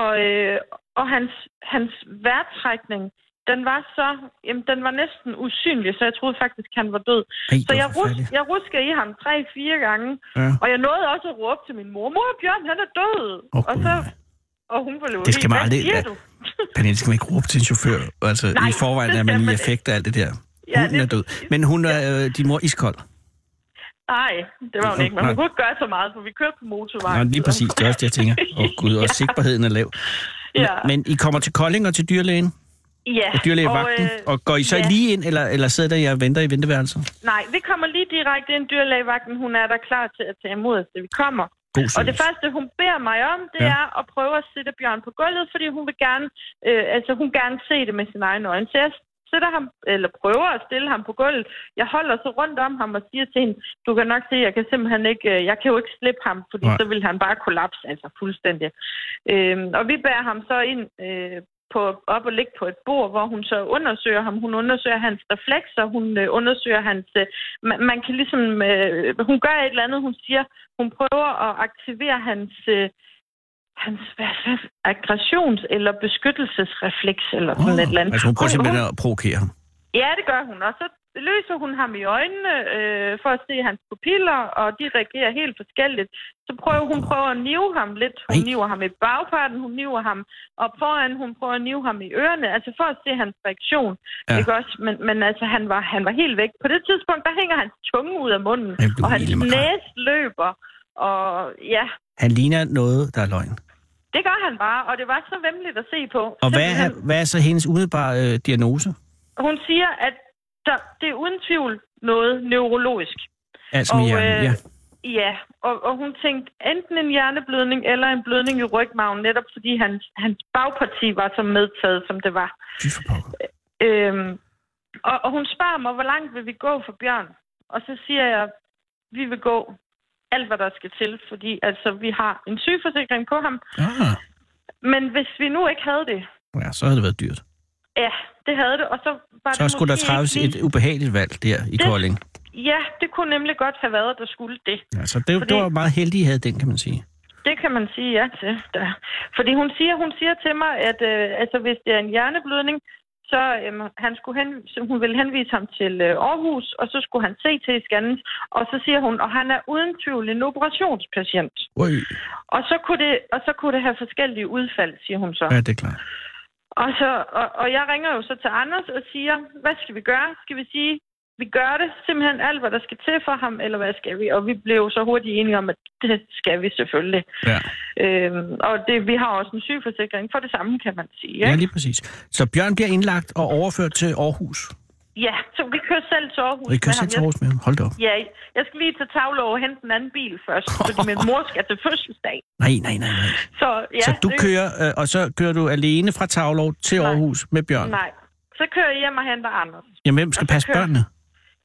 Og, øh, og hans, hans vejrtrækning, den var så, jamen, den var næsten usynlig, så jeg troede faktisk, han var død. Ej, Så hvor jeg, rus, forfærdeligt. jeg rusker i ham tre-fire gange, Ja. og jeg nåede også at råbe til min mor, mor Bjørn, han er død. Åh, og så, Gud. og hun blev Det skal man aldrig- Hvad siger ja. du? Pernille, skal man ikke råbe til en chauffør? Altså, Nej, i forvejen det er man skal i man effekt og alt det der. Ja, Hunden det er er død. præcis. Men hun er, øh, din mor er iskold. Nej, det var hun ikke, men Nej. hun kunne ikke gøre så meget, for vi kørte på Nå, motorvejen. lige præcis. Det er også det, jeg tænker. Åh oh, gud, og sikkerheden er lav. Ja. Men I kommer til Kolding og til dyrlægen, Ja, og dyrlægevagten, og, øh, og går I så ja. lige ind, eller, eller sidder der jeg og venter i venteværelset? Nej, vi kommer lige direkte ind. Dyrlægevagten, hun er der klar til at tage imod os, da vi kommer. God Og det service. første, hun beder mig om, det Ja. ja. er at prøve at sætte Bjørn på gulvet, fordi hun vil gerne, øh, altså hun gerne se det med sine egne øjne. Så jeg sætter ham, eller prøver at stille ham på gulvet. Jeg holder så rundt om ham og siger til hende, du kan nok se, jeg kan simpelthen ikke, øh, jeg kan jo ikke slippe ham, fordi Nej. Nej. så vil han bare kollapse, altså fuldstændig. Øhm, og vi bærer ham så ind øh, på, op og ligge på et bord, hvor hun så undersøger ham. Hun undersøger hans reflekser, hun øh, undersøger hans... Øh, man, man kan ligesom... Øh, hun gør et eller andet, hun siger, hun prøver at aktivere hans... Øh, hans hvad, hvad, aggressions- eller beskyttelsesrefleks, eller sådan et eller andet. altså hun prøver simpelthen at provokere ham. Ja, det gør hun. Og så løser hun ham i øjnene øh, for at se hans pupiller, og de reagerer helt forskelligt. Så prøver hun prøver at nive ham lidt. Hun Ej. niver ham i bagparten, hun niver ham op foran, hun prøver at nive ham i ørerne, altså for at se hans reaktion. Ja. Ja. Ikke også? Men, men altså, han var, han var helt væk. På det tidspunkt, der hænger hans tunge ud af munden, Jamen, du og hans milde makrel. næse løber. Og ja, Han ligner noget, der er løgn. det gør han bare, og det var så vemmeligt at se på. Og hvad er, Simpelthen. hvad er så hendes umiddelbare øh, diagnose? Hun siger, at der, det er uden tvivl noget neurologisk. Altså med hjernen, øh, ja. ja og, og hun tænkte enten en hjerneblødning eller en blødning i rygmagen, netop fordi hans, hans bagparti var så medtaget, som det var. Fy for pokker. Øhm, og, og hun spørger mig, hvor langt vil vi gå for Bjørn? Og så siger jeg, vi vil gå alt, hvad der skal til, fordi altså, vi har en sygeforsikring på ham. Ah, Men hvis vi nu ikke havde det, ja, så havde det været dyrt. ja, det havde det, og så var Så det skulle der måske ikke træffes lige- et ubehageligt valg der i Det- Kolding. Ja, det kunne nemlig godt have været, at der skulle det. Ja, så det, det Fordi- var meget heldigt, I havde den, kan man sige. Det kan man sige ja til. Da. Fordi hun siger, hun siger til mig, at øh, altså, hvis det er en hjerneblødning, så øhm, han skulle hen, så hun ville henvise ham til øh, Aarhus, og så skulle han se til scannen, og så siger hun, og han er uden tvivl en operationspatient. Ui, Og så kunne det, og så kunne det have forskellige udfald, siger hun så. ja, det er klart. Og, så og, og jeg ringer jo så til Anders og siger, hvad skal vi gøre? Skal vi sige, vi gør det simpelthen alt, hvad der skal til for ham, eller hvad skal vi? Og vi blev jo så hurtigt enige om, at det skal vi selvfølgelig. Ja. Øhm, og det, vi har også en sygeforsikring for det samme, kan man sige. ja, Ikke? lige præcis. Så Bjørn bliver indlagt og overført til Aarhus. Ja, så vi kører selv til Aarhus Og I kører selv ham. til Aarhus med ham? Hold da op. Jeg, ja, jeg skal lige til Tavlo og hente en anden bil først, fordi min mor skal til fødselsdag. Nej, nej, nej. nej. Så, ja, så du det- kører, øh, og så kører du alene fra Tavlov til Nej. Aarhus med Bjørn. Nej, så kører jeg hjem og henter Anders. Jamen, hvem skal Og så passe kører- børnene?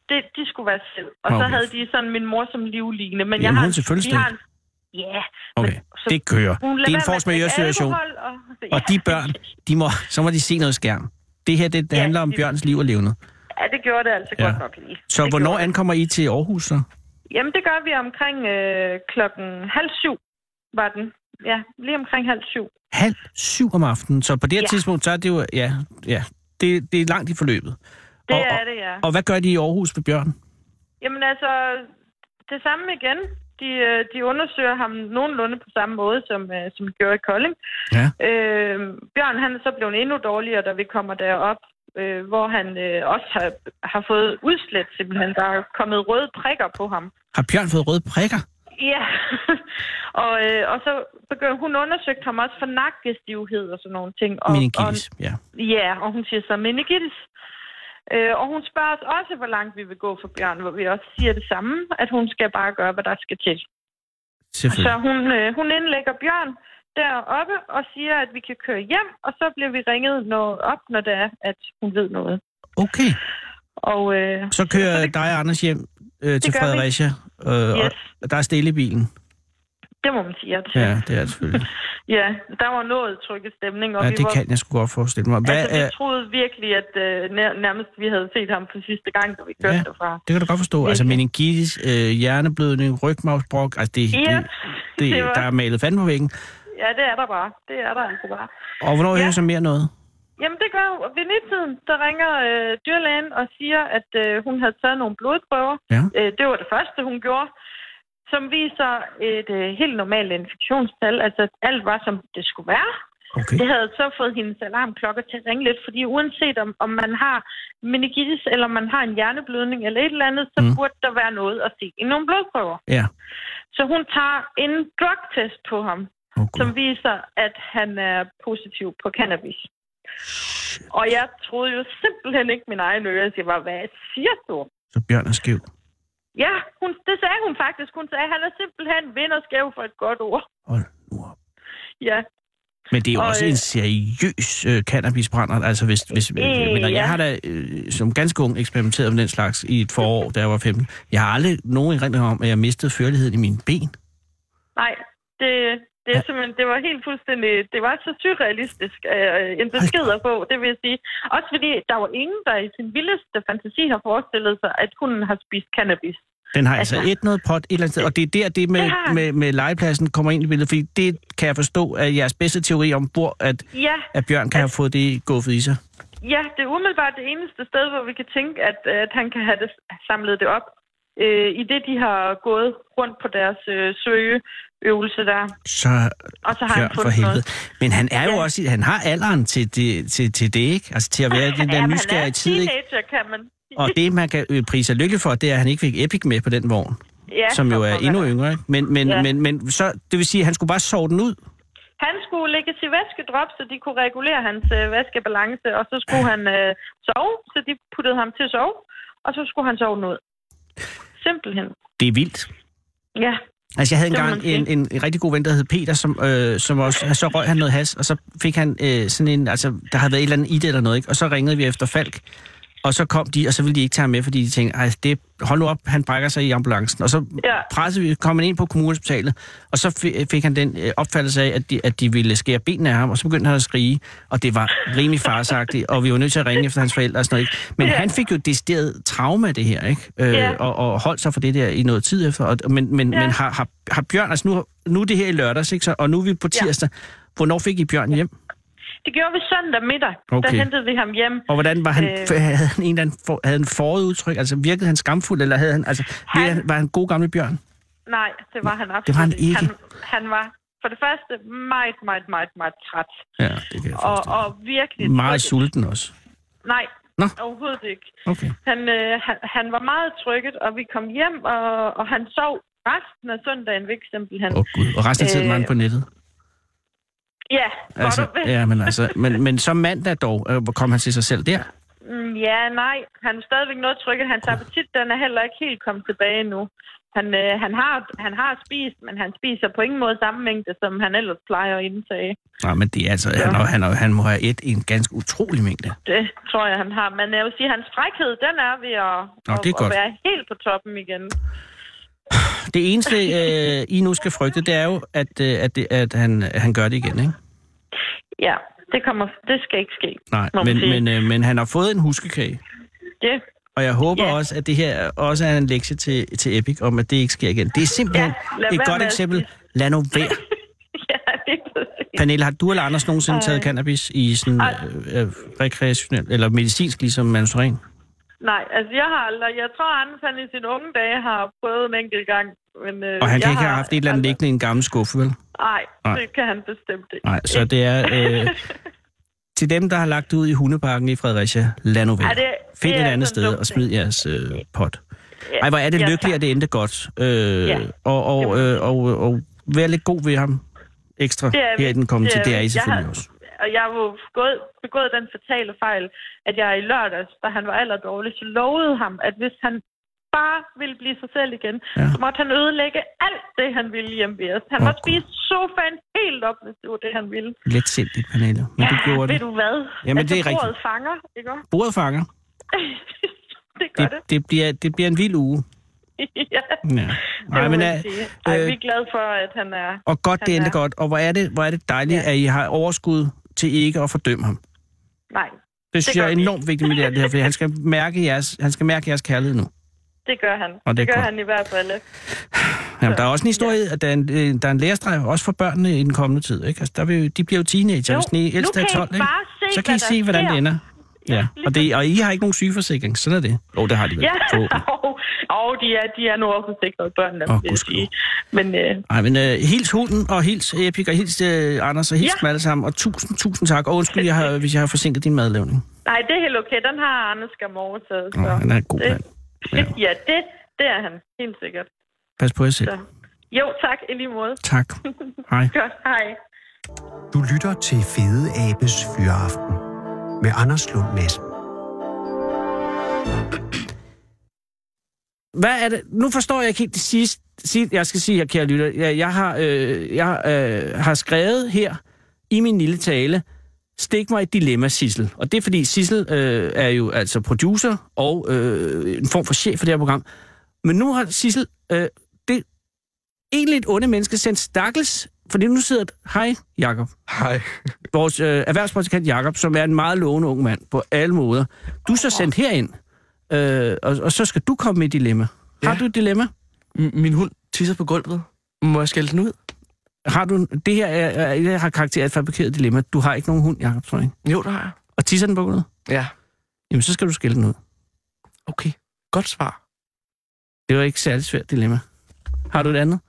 Det, de skulle være selv. Og okay. så Okay. havde de sådan min mor som livligne. Men jeg Jamen, har, hun er til fødselsdag. vi har en- Ja. Okay, så det kører. hun lader Det er en være med at force majeure drikke situation. alkohol, Og, Og de børn, de må, så må de se noget skærm. Det her, det, det Ja, handler om det- Bjørns liv og levnet. Ja, det gjorde det altså Ja. ja. godt nok lige. Så det hvornår gjorde det. ankommer I til Aarhus så? Jamen, det gør vi omkring øh, klokken halv syv, var den. Ja, lige omkring halv syv. Halv syv om aftenen. Så på det her Ja. tidspunkt, så er det jo... Ja, ja det, det er langt i forløbet. Det og, er og, det, ja. og hvad gør de i Aarhus med Bjørn? Jamen altså, det samme igen. De, øh, de undersøger ham nogenlunde på samme måde, som, øh, som de gjorde i Kolding. Ja. Øh, Bjørn han er så blevet endnu dårligere, da vi kommer derop, øh, hvor han øh, også har, har fået udslet simpelthen. Der er kommet røde prikker på ham. Har Bjørn fået røde prikker? Ja, og, øh, og så begynder hun undersøgte ham også for nakkestivhed og sådan nogle ting. Og, og, Meningitis, ja. Ja, og hun siger så meningitis. Øh, og hun spørger os også, hvor langt vi vil gå for Bjørn, hvor vi også siger det samme, at hun skal bare gøre, hvad der skal til. Så Selvfølgelig. hun, øh, hun indlægger Bjørn deroppe og siger, at vi kan køre hjem, og så bliver vi ringet noget op, når det er, at hun ved noget. Okay, Og øh, så kører Så dig og Anders hjem øh, til gør vi. Fredericia, øh, yes, og der er stille i bilen. det må man sige. At, Ja, det er det selvfølgelig. ja, der var noget trykket stemning, og Ja, vi det var kan jeg sgu godt forestille mig. Hvad, altså, er, vi troede virkelig, at øh, nær- nærmest vi havde set ham for sidste gang, da vi kørte Ja. ja. derfra. det kan du godt forstå. Altså meningitis, øh, hjerneblødning, rygmavsbrok, altså det, Ja, det, det, det var- der er malet fanden på væggen. Ja, det er der bare. Det er der altså bare. Og hvornår ja. Ja. hører så mere noget? Jamen, det gør jo. Ved nittiden, der ringer øh, dyrlægen og siger, at øh, hun havde taget nogle blodprøver. Ja. Øh, det var det første, hun gjorde, som viser et øh, helt normalt infektionstal. Altså, at alt var, som det skulle være. Okay. Det havde så fået hendes alarmklokker til at ringe lidt, fordi uanset om, om man har meningitis, eller man har en hjerneblødning, eller et eller andet, så Mm. mm. burde der være noget at se i nogle blodprøver. Ja. Så hun tager en drugtest på ham, Okay. som viser, at han er positiv på cannabis. Og jeg troede jo simpelthen ikke min egen øre. Jeg siger bare, hvad siger du? Så Bjørn er skæv. Ja, hun, det sagde hun faktisk. Hun sagde, at han er simpelthen vinderskæv for et godt ord. Hold nu op. Ja, Men det er jo Og, også øh, en seriøs øh, cannabisbrænder. Altså, hvis, hvis, øh, jeg, mener, ja. jeg har da øh, som ganske ung eksperimenteret med den slags i et forår, da jeg var 15. Jeg har aldrig nogen erindring om, at jeg mistede førligheden i mine ben. nej, det, det, er simpelthen, det var helt fuldstændig, det var så surrealistisk øh, en besked at få, det vil jeg sige. Også fordi der var ingen, der i sin vildeste fantasi har forestillet sig, at hunden har spist cannabis. Den har altså Altså- et noget pot et eller andet sted, og det er der, det med, Det har med, den. med, legepladsen kommer ind i billedet, fordi det kan jeg forstå er jeres bedste teori om, hvor at, Ja, at Bjørn kan have fået det guffet i sig. Ja, det er umiddelbart det eneste sted, hvor vi kan tænke, at, at han kan have det, samlet det op. Øh, I det, de har gået rundt på deres øh, søgeøvelse der. Så Og så har Bjørn han for fundet helvede. noget. Men han er jo Ja. også, i- han har alderen til det, til, til det ikke? Altså til at være i den der Jamen, nysgerrige han er tid, ikke? teenager, kan man sige. Og det, man kan øh, prise sig lykkelig for, det er, at han ikke fik Epic med på den vogn, ja, som jo og- er og- endnu yngre. Ikke? Men, men, Ja. men, men så, det vil sige, at han skulle bare sove den ud. Han skulle lægge til væskedrop, så de kunne regulere hans øh, væskebalance, og så skulle han øh, sove, så de puttede ham til at sove, og så skulle han sove noget. Simpelthen. Det er vildt. Ja, Altså, jeg havde Det må engang en, man en, en rigtig god ven, der hed Peter, som, øh, som også, så røg han noget has, og så fik han øh, sådan en, altså, der havde været et eller andet i det eller noget, ikke? og så ringede vi efter Falk, og så kom de, og så ville de ikke tage ham med, fordi de tænkte, Ej, det, hold nu op, han brækker sig i ambulancen. Og så Ja. pressede vi, kom han ind på kommunhospitalet, og så fi- fik han den øh, opfattelse af, at de, at de ville skære benene af ham, og så begyndte han at skrige, og det var rimelig farsagtigt, og vi var nødt til at ringe efter hans forældre og sådan noget. Ikke? Men ja. han fik jo decideret traume af det her, ikke? Øh, Ja. og, og holdt sig for det der i noget tid efter. Og, men men, ja. Ja. men har, har, har Bjørn, altså nu, nu er det her i lørdags, ikke? Så, og nu er vi på Ja. tirsdag. Hvornår fik I Bjørn hjem? det gjorde vi søndag middag. Okay. Okay. Der hentede vi ham hjem. Og hvordan var han, Øh. øh, havde han en eller anden for, havde han forududtryk? Altså virkede han skamfuld, eller havde han, altså, Han- han, var han god gamle Bjørn? Nej, det var han absolut Det var han ikke. Han, han var for det første meget, meget, meget, meget træt. Ja, det kan jeg Og, forestille. og virkelig... mig. Meget trykket. sulten også. Nej, Nå. Nå. overhovedet ikke. Okay. Han, øh, han, han var meget trykket, og vi kom hjem, og, og han sov resten af søndagen væk, simpelthen. Åh oh, gud, og resten af tiden var han Øh, på nettet. Ja, Altså, godt og vel. ja, men altså, men, men som mandag dog, øh, hvor kom han til sig selv der? Mm, Ja, nej. Han er stadigvæk noget trykket. Hans appetit den er heller ikke helt kommet tilbage endnu. Han, øh, han, har, han har spist, men han spiser på ingen måde samme mængde, som han ellers plejer at indtage. Nej, men det er altså, ja. han, er- han, er- han må have et i en ganske utrolig mængde. Det tror jeg, han har. Men jeg vil sige, at hans frækhed, den er ved at, Nå, at, det er at godt. være helt på toppen igen. Det eneste, øh, I nu skal frygte, det er jo, at, øh, at, det, at han, han gør det igen, ikke? Ja, det, kommer, det skal ikke ske. Nej, må man men, sige. men, øh, men han har fået en huskekage. Det, Og jeg håber Ja. også, at det her også er en lektie til, til Epic, om at det ikke sker igen. Det er simpelthen Ja, lad ja, et være godt med at eksempel. Lad nu være. ja, det er præcis. Pernille, har du eller Anders nogensinde taget cannabis i sådan Øh. Ej. øh, øh, rekreationel, eller medicinsk, ligesom Mansurin? Nej, altså jeg har aldrig... Jeg tror, Anders han i sine unge dage har prøvet en enkelt gang. Men, øh, Og han kan jeg ikke have haft et eller andet aldrig- liggende i en gammel skuffe, vel? Nej, Nej. det kan han bestemt ikke. Nej, så det er... Øh, til dem, der har lagt det ud i hundeparken i Fredericia, lad nu være. Ej, det- Find det er et andet altså en sted dum og ting. smid jeres øh, pot. Ja, Ej, hvor er det ja, lykkeligt, tak. at det endte godt. Øh, Ja. og, og, øh, og, og, og vær lidt god ved ham ekstra Det er vi. her i den kommende tid. Det er Det er I vi. Jeg selvfølgelig har- også. Og jeg har jo begået, begået den fatale fejl, at jeg i lørdags, da han var allerdårlig, så lovede ham, at hvis han bare ville blive sig selv igen, Ja. ja. så måtte han ødelægge alt det, han ville hjemme ved os. Han Åh, måtte Gud. spise sofaen helt op, hvis det var det, han ville. Let sindigt, Pernille. Men du gjorde Ved det. du hvad? Altså, Jamen, det er rigtigt. bordet fanger, ikke? også? Bordet fanger. det gør det. Det, det, bliver, det bliver en vild uge. ja, Ja. det Nej, må men, man øh, sige. Ej, øh, vi er glade for, at han er... og godt, det Han endte er- godt. Og hvor er det, hvor er det dejligt, Ja. at I har overskud til ikke at fordømme ham. Nej, Det synes gør jeg er vi. enormt vigtigt med det her, det her, for han skal, mærke jeres, han skal mærke jeres kærlighed nu. det gør han. er det, det gør godt. Øh, han i hvert fald. Jamen, der er også en historie, at der er en, øh, der er en lærestreg, også for børnene i den kommende tid. Ikke? Altså, der vil, jo- de bliver jo teenager, Jo, hvis den nu ældste er kan I 12. Ikke? bare se, så kan I hvad der se, hvordan det sker. ender. Ja, ligesom- og, det, og I har ikke nogen sygeforsikring, sådan er det. Åh, oh, det har de vel. Ja, forhåbentlig. og, og de, er, de er nu også sikrede børn, der Åh, oh, vil jeg gudskelov. sige. Men øh, Ej, men øh, hils hunden, og hils Epic, og hils øh, Anders, og hils Ja. ja. dem alle sammen. Og tusind, tusind tak. Og undskyld, jeg har, hvis jeg har forsinket din madlavning. nej, det er helt okay. Den har Anders Gamor overtaget. Åh, Så. han er en god det- mand. ja. Ja. ja, det, det er han. Helt sikkert. Pas på jer selv. Så. Jo, tak. I lige måde. Tak. Hej. Godt. Hej. Du lytter til Fede Abes Fyraften med Anders Lund Madsen. Hvad er det? Nu forstår jeg ikke helt det sidste, sidste jeg skal sige her, kære lytter. Jeg, jeg, har, øh, jeg øh, har skrevet her i min lille tale, stik mig et dilemma, Sissel. Og det er fordi, Sissel øh, er jo altså producer og øh, en form for chef for det her program. Men nu har Sissel, øh, det egentlig et onde menneske, sendt stakkels, fordi nu sidder, hej Jakob, Hej. vores øh, erhvervspraktikant Jakob, som er en meget lovende ung mand på alle måder. Du er så sendt herind, øh, og, og så skal du komme med et dilemma. Har Ja. du et dilemma? M- min hund tisser på gulvet. Må jeg skælde den ud? Har du, en- det her er, er, det har karakter af et fabrikeret dilemma. Du har ikke nogen hund, Jakob, tror jeg. Jo, det har jeg. Og tisser den på gulvet? Ja. Jamen, så skal du skille den ud. Okay. Godt svar. Det var ikke særlig svært dilemma. Har du et andet?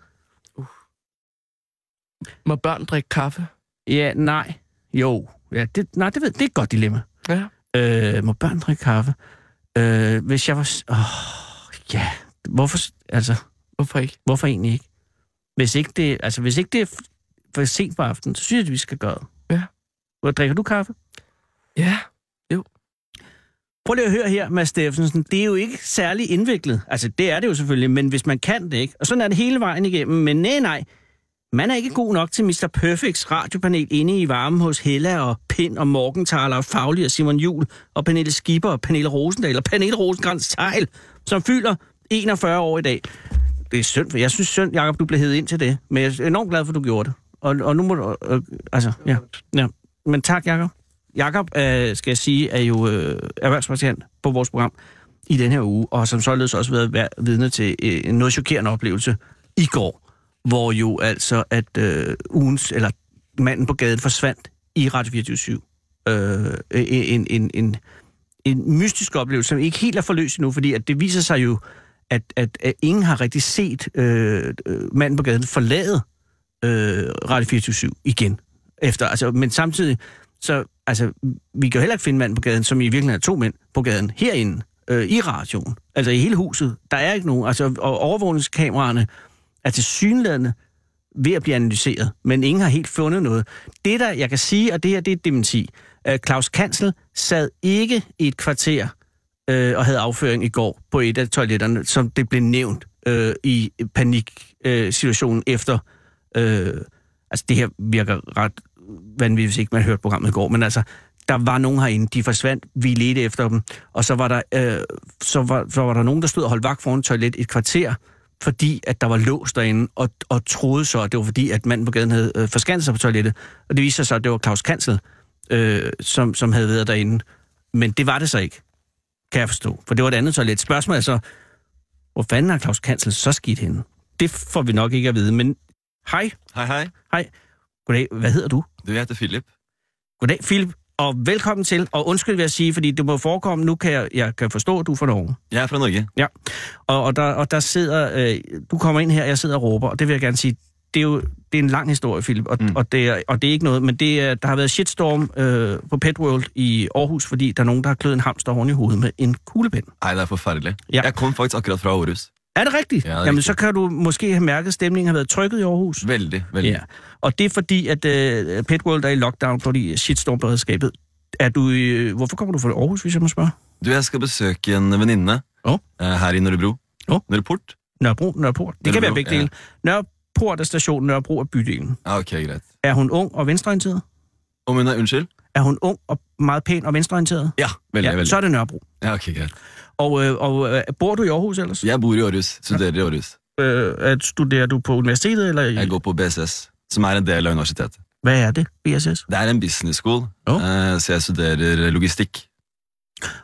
Må børn drikke kaffe? Ja, nej. Jo. Ja, det, nej, det, ved, det er et godt dilemma. Ja. Øh, må børn drikke kaffe? Øh, hvis jeg var... s- Åh, oh, ja. Hvorfor, s- altså, Hvorfor ikke? hvorfor egentlig ikke? Hvis ikke det, altså, hvis ikke det er f- for sent på aftenen, så synes jeg, at vi skal gøre det. Ja. Hvor drikker du kaffe? Ja. Prøv lige at høre her, Mads Steffensen. Det er jo ikke særlig indviklet. Altså, det er det jo selvfølgelig, men hvis man kan det ikke. Og sådan er det hele vejen igennem. Men nej, nej. Man er ikke god nok til Mr. Perfects radiopanel inde i varmen hos Hella og Pind og Morgenthaler og Fagli og Simon Jul og Pernille Skipper og Pernille Rosendal og Pernille Rosengrans Tejl, som fylder 41 år i dag. Det er synd, for jeg synes synd, Jacob, du blev hævet ind til det. Men jeg er enormt glad for, at du gjorde det. Og, og nu må du... Øh, altså, ja, ja. Men tak, Jacob. Jakob, øh, skal jeg sige, er jo øh, erhvervspraktikant på vores program i den her uge, og har som således også været vær- vidne til øh, en noget chokerende oplevelse i går, hvor jo altså, at øh, ugens, eller manden på gaden forsvandt i Radio 24 øh, en, en, en, en mystisk oplevelse, som ikke helt er forløst endnu, fordi at det viser sig jo, at, at, at ingen har rigtig set øh, øh, manden på gaden forlade øh, Radio 24 igen. Efter, altså, men samtidig, så altså, vi kan jo heller ikke finde manden på gaden, som i virkeligheden er to mænd på gaden herinde øh, i radioen. Altså i hele huset. Der er ikke nogen. Altså, og overvågningskameraerne er til synlædende ved at blive analyseret, men ingen har helt fundet noget. Det der, jeg kan sige, og det her, det er et dementi. Øh, Claus Kansel sad ikke i et kvarter øh, og havde afføring i går på et af toiletterne, som det blev nævnt øh, i paniksituationen øh, situationen efter. Øh, altså, det her virker ret vanvittigt, hvis ikke man hørte programmet i går, men altså, der var nogen herinde, de forsvandt, vi ledte efter dem, og så var der, øh, så var, så var der nogen, der stod og holdt vagt foran toilet et kvarter, fordi at der var lås derinde, og, og troede så, at det var fordi, at manden på gaden havde øh, forskanset sig på toilettet, og det viste sig så, at det var Claus Kansel, øh, som, som havde været derinde. Men det var det så ikke, kan jeg forstå, for det var et andet toilet. Spørgsmålet er så, hvor fanden har Claus Kansel så skidt henne? Det får vi nok ikke at vide, men hej, Hej, hej. hej, goddag, hvad hedder du? Det er det, Philip. Goddag, Philip, og velkommen til. Og undskyld vil jeg sige, fordi det må forekomme, nu kan jeg, jeg kan forstå, at du er fra Norge. Jeg er fra Norge. Ja, og, og, der, og der sidder, øh, du kommer ind her, jeg sidder og råber, og det vil jeg gerne sige, det er jo det er en lang historie, Philip, og, mm. Mm. og, det er, og det er ikke noget, men det er, der har været shitstorm øh, på Pet World i Aarhus, fordi der er nogen, der har kløet en hamster oven i hovedet med en kuglepen. Ej, det er forferdelig. Ja. Jeg kom faktisk akkurat fra Aarhus. Er det rigtigt? Ja, det er Jamen, rigtigt. så kan du måske have mærket, at stemningen har været trykket i Aarhus. Veldig, veldig. Ja. Og det er fordi, at øh, Pet World er i lockdown, fordi shitstorm-beredskabet. Er du, i- hvorfor kommer du fra Aarhus, hvis jeg må spørge? Du, jeg skal besøge en veninde Åh. eh, her i Nørrebro. Åh. Nørreport? Nørrebro, Nørreport. Det kan Nørrebro, være begge dele. Nørreport er stationen, Nørrebro er bydelen. Ja, ok, greit. Er hun ung og venstreorienteret? Om hun er undskyld? Er hun ung og meget pæn og venstreorienteret? Ja, veldig, veldig. så er det Nørrebro. Ja, ok, greit. Og, øh, og øh, bor du i Aarhus ellers? Jeg bor i Aarhus, studerer i Aarhus. Øh, at studerer du på universitetet? Eller i... Jeg går på BSS, som er en del av universitetet. Hvad er det, BSS? Det er en business school, Åh. eh, så jeg studerer logistikk.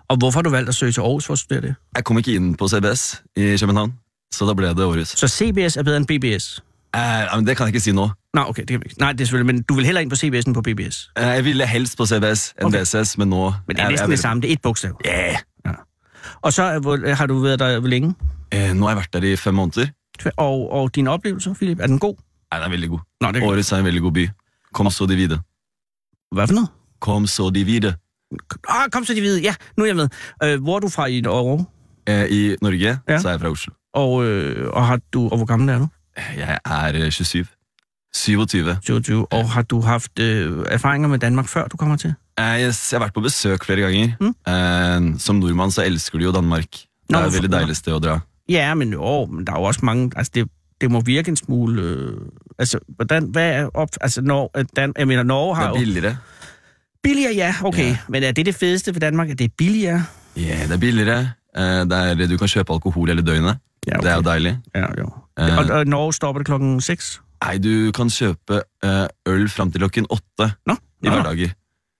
Og hvorfor har du valgt at søge til Aarhus for at studere det? Jeg kom ikke inn på CBS i København, så da ble det Aarhus. Så CBS er bedre end BBS? Eh, ja, men det kan jeg ikke si nå. Nej, okay, det kan vi ikke. Nej, det er selvfølgelig, men du vil heller ind på CBS end på BBS. Eh, Jeg ville helst på CBS enn Ok. BSS, men nå Men det er jeg- næsten jeg- det samme, det er et bogstav. Ja. Og så er- hvor- øh, har du været der hvor længe? Eh, Nå har jeg vært der i fem måneder. Og, og dine oplevelser, Philip, er den god? Nei, den er veldig god. Nå, det er Årets er en veldig god by. Kom så de videre. Hvad for noget? Kom så de videre. Ah, kom så de hvide. Ja, nu er jeg med. Øh, hvor er du fra i Norge? Eh, I Norge Ja. så er jeg fra Oslo. Og, øh, og, har du, og hvor gammel er du? Eh, Jeg er eh, 27. 27. 27. Og har du haft øh, erfaringer med Danmark, før du kommer til? Eh, yes, Jeg har vært på besøk flere ganger. Mm. Eh, Som nordmann så elsker du jo Danmark. Det Nå, er et hvorfor- veldig deilig sted å dra. Ja, men, åh, men der er jo også mange... Altså, det, det må virke en smule... Øh, altså, hvordan, hvad er op... Altså, når, øh, Dan, jeg mener, Norge Det har er jo... billigere. Billigere, ja, okay. Ja. Men er det det fedeste ved Danmark, at det er billigere? Ja, det er billigere. Eh, Det er, du kan kjøpe alkohol hele døgnet. Ja, Det er jo deilig. Ja, jo. Eh, Og, og Norge stopper det klokken 6? Nei, du kan kjøpe eh, øl fram til klokken åtte Nå, i nå. hverdager.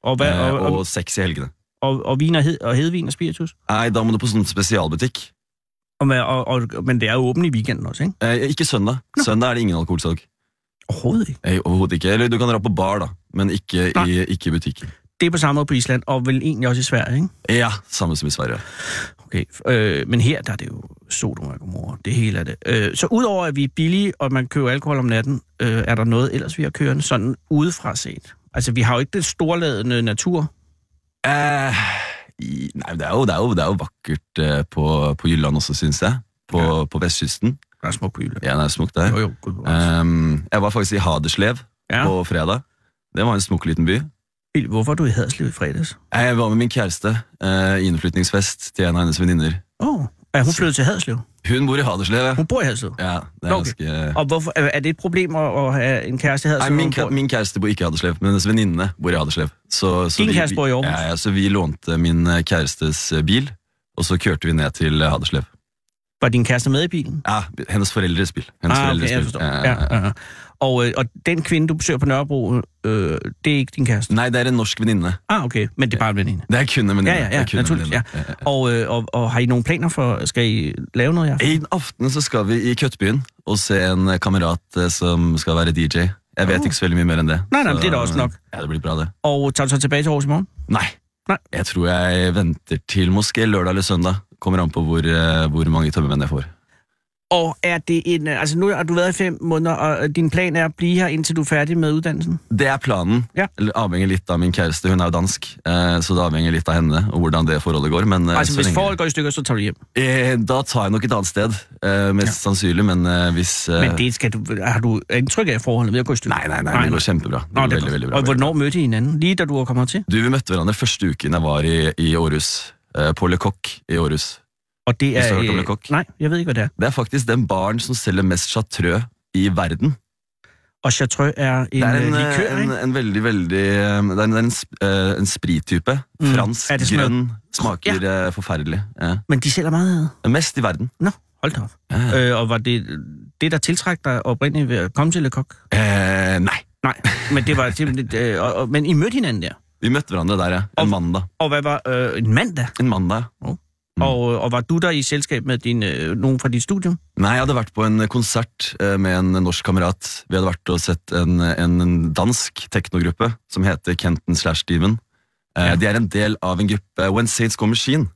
Og, hvad, eh, og, og, Og seks i helgene. og, og, vin og, hed, og hedvin og spiritus? Nei, da må du på sånn spesialbutikk. Og, hvad- og, og, men det er jo åbent i weekenden også, ikke? Eh, ikke søndag. Søndag er det ingen alkoholsalg. Overhovedet ikke. Eh, overhovedet ikke. Eller du kan dra på bar, da, men ikke Nei. i ikke i butikken. Det er på samme måde på Island, og vel egentlig også i Sverige, ikke? Ja, samme som i Sverige. Okay, øh, men her der er det jo Sodom og Gomorra, det hele er det. Øh, så udover at vi er billige, og man køber alkohol om natten, øh, er der noget ellers, vi har kørende sådan udefra set? Altså, vi har jo ikke den storladende natur. Eh, i, nei, det er jo, det er jo, det er jo vakkert eh, på, på Jylland også, syns jeg. På, på vestkysten. Der er smuk by, eller? Ja, det er smukt der. Jo, jo, gud, hvor er det. Ehm, jeg var faktisk i Haderslev Ja. på fredag. Det var en smuk liten by. Philip, Hvorfor er du i Haderslev i fredags? Eh, Jeg var med min kjæreste eh, i innflytningsfest til en av hennes venninner. Åh, oh, er hun flyttet til Haderslev? Hun bor i Haderslev. ja. Hun bor i Haderslev. Ja, det er Nå, okay. ganske... Og hvorfor, er er det et problem at, at have en kæreste i Nei, Haderslev? min, hvor Altså, kæ- hun bor? min kæreste bor ikke i Haderslev, men hennes venninne bor i Haderslev. Så, så Din kæreste bor i Aarhus? Ja, ja, så vi lånte min eh, kærestes eh, bil, og så kørte vi ned til eh, Haderslev. Var din kæreste med i bilen? Ja, hennes forældres bil. Hennes Ah, okay, forældres jeg bil. Eh, forstår. Ja, Ja, ja, ja. ja, ja. Og, øh, og den kvinde, du besøger på Nørrebro, øh, det er ikke din kæreste? Nej, det er en norsk veninde. Ah, okay, men det er bare en veninde. Det er kun en veninde. Ja, ja, ja, Det er kun en Eh, naturligvis, veninde. Ja, ja. Og, øh, og, og har I nogle planer for, skal I lave noget i aften? I den aften så skal vi i Køttbyen og se en eh, kamerat eh, som skal være DJ. Jeg vet Oh. ikke så veldig mye mer enn det. Nei, nei, Så, det er da også nok. Ja, det blir bra det. Og tager du så tilbage til Aarhus i morgen? Nei. Nei. Jeg tror jeg venter til måske lørdag eller søndag. Kommer an på hvor, eh, hvor mange tømmermenn jeg får. Og er det en... øh, Altså, nu har du været i fem måneder, og øh, din plan er at blive her, indtil du er færdig med uddannelsen? Det er planen. Ja. Eller Avhenger litt av min kjæreste. Hun er jo dansk, eh, så det avhenger litt av henne og hvordan det forholdet går. Men eh, altså, så hvis lenge- forholdet går i stykker, så tager du hjem. eh, Da tar jeg nok et annet sted, eh, mest sannsynlig. Men eh, hvis eh, Men det skal du... Har du indtryk af at forholdet ved at gå i stykker? Nei, nei, nei, det går kjempebra. Det Nå, går det er veldig, godt. veldig bra. Og hvornår mødte I hinanden? Lige da du var kommet til? Du, Vi møtte hverandre første uken jeg var i, i Aarhus. Eh, på Le Coq i Aarhus. Og det Hvis er... du har hørt om øh, Le Coq? Nej, jeg ved ikke, hvad det er. Det er faktisk den baren som selger mest chatrø i verden. Og Chartreux er en, Det er en, øh, likør, eh, en, ikke? en veldig, veldig eh, Det er en, det er en, sp- eh, en sprittype. Mm. Er Fransk, det sådan grønn. Smaker eh, forferdelig. Ja. Men de sælger meget af. Mest i verden. Nå, hold da op. Ja. Øh, og var det det, der tiltrak dig oprindeligt ved at komme til Le Coq? Eh, nei. Nej, men det var simpelthen... Øh, og, og, men I mødte hinanden der. Vi møtte hverandre der, ja. En Og- mandag. Og hvad var øh, en mandag? En mandag. Mm. Og, øh, og var du der i selskab med din, øh, nogen fra dit studium? Nei, jeg hadde vært på en konsert eh, med en norsk kamerat. Vi hadde vært og sett en, en dansk teknogruppe som heter Kenton slash Steven. Eh, Ja. De er en del av en gruppe When Saints Go Machine.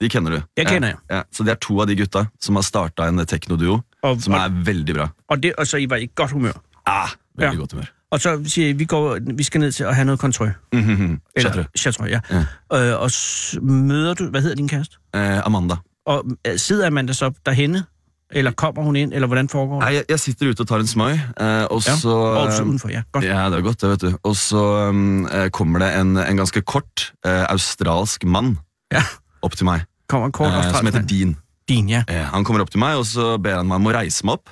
De kjenner du. Jeg kender ja. jer. Ja. Så de er to av de gutta som har starta en teknoduo Og, som og, er veldig bra. og, det, og så I var i godt humør. Ah, veldig Ja. godt humør. Og så siger I, vi, går, vi skal ned til at have noget kontrol. Mhm. Chateau. Chartreux, ja. ja. Øh, og s- møder du... Hvad hedder din kæreste? Eh, Amanda. Og øh, sidder Amanda så derhenne? Eller kommer hun ind? Eller hvordan foregår det? Nei, jeg, jeg sitter ute og tar en smøg, eh, og Ja. så Og så eh, udenfor, ja. Godt. Ja, det er godt, det vet du. Og så um, eh, kommer det en, en ganske kort eh, australsk mann Ja. opp til meg, Kommer en kort eh, australsk som heter mand. Dean. Din, ja. Eh, han kommer opp til meg, og så ber han meg om å reise meg opp.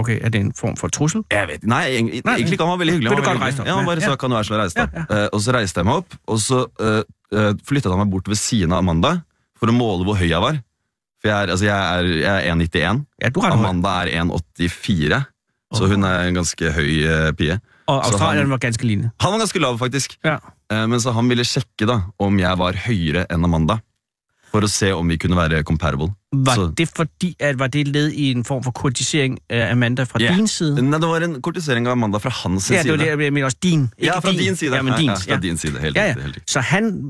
Okay, er det en form for trussel? Jeg vet Nei, egentlig, Nei, egentlig ikke. Han var veldig hyggelig. han Vil du var godt veldig reise deg opp? hyggelig. Ja, han bare Ja. sa, kan du være så snill å reise deg? Ja, opp?» Eh, og så reiste jeg meg opp, og så eh, eh, flyttet han meg bort ved siden av Amanda for å måle hvor høy jeg var. For jeg er, altså, jeg er, jeg er 1,91. Ja, du er ret høj. Amanda er 1,84. Så hun er en ganske høy eh, pige. Og så Australien han- var ganske lignende. Han var ganske lav, faktisk. Ja. Eh, Men så han ville sjekke da om jeg var høyere enn Amanda. For å se om vi kunne være comparable. Var Så- det fordi, at var det led i en form for kortisering af Amanda fra Ja. din side? Nei, det var en kortisering av Amanda fra hans Ja, det var side. det, jeg mener også din. ja, ikke fra din side. Ja, men din. Ja, fra din side. Helt Ja, ja. riktig. helt riktig. Så han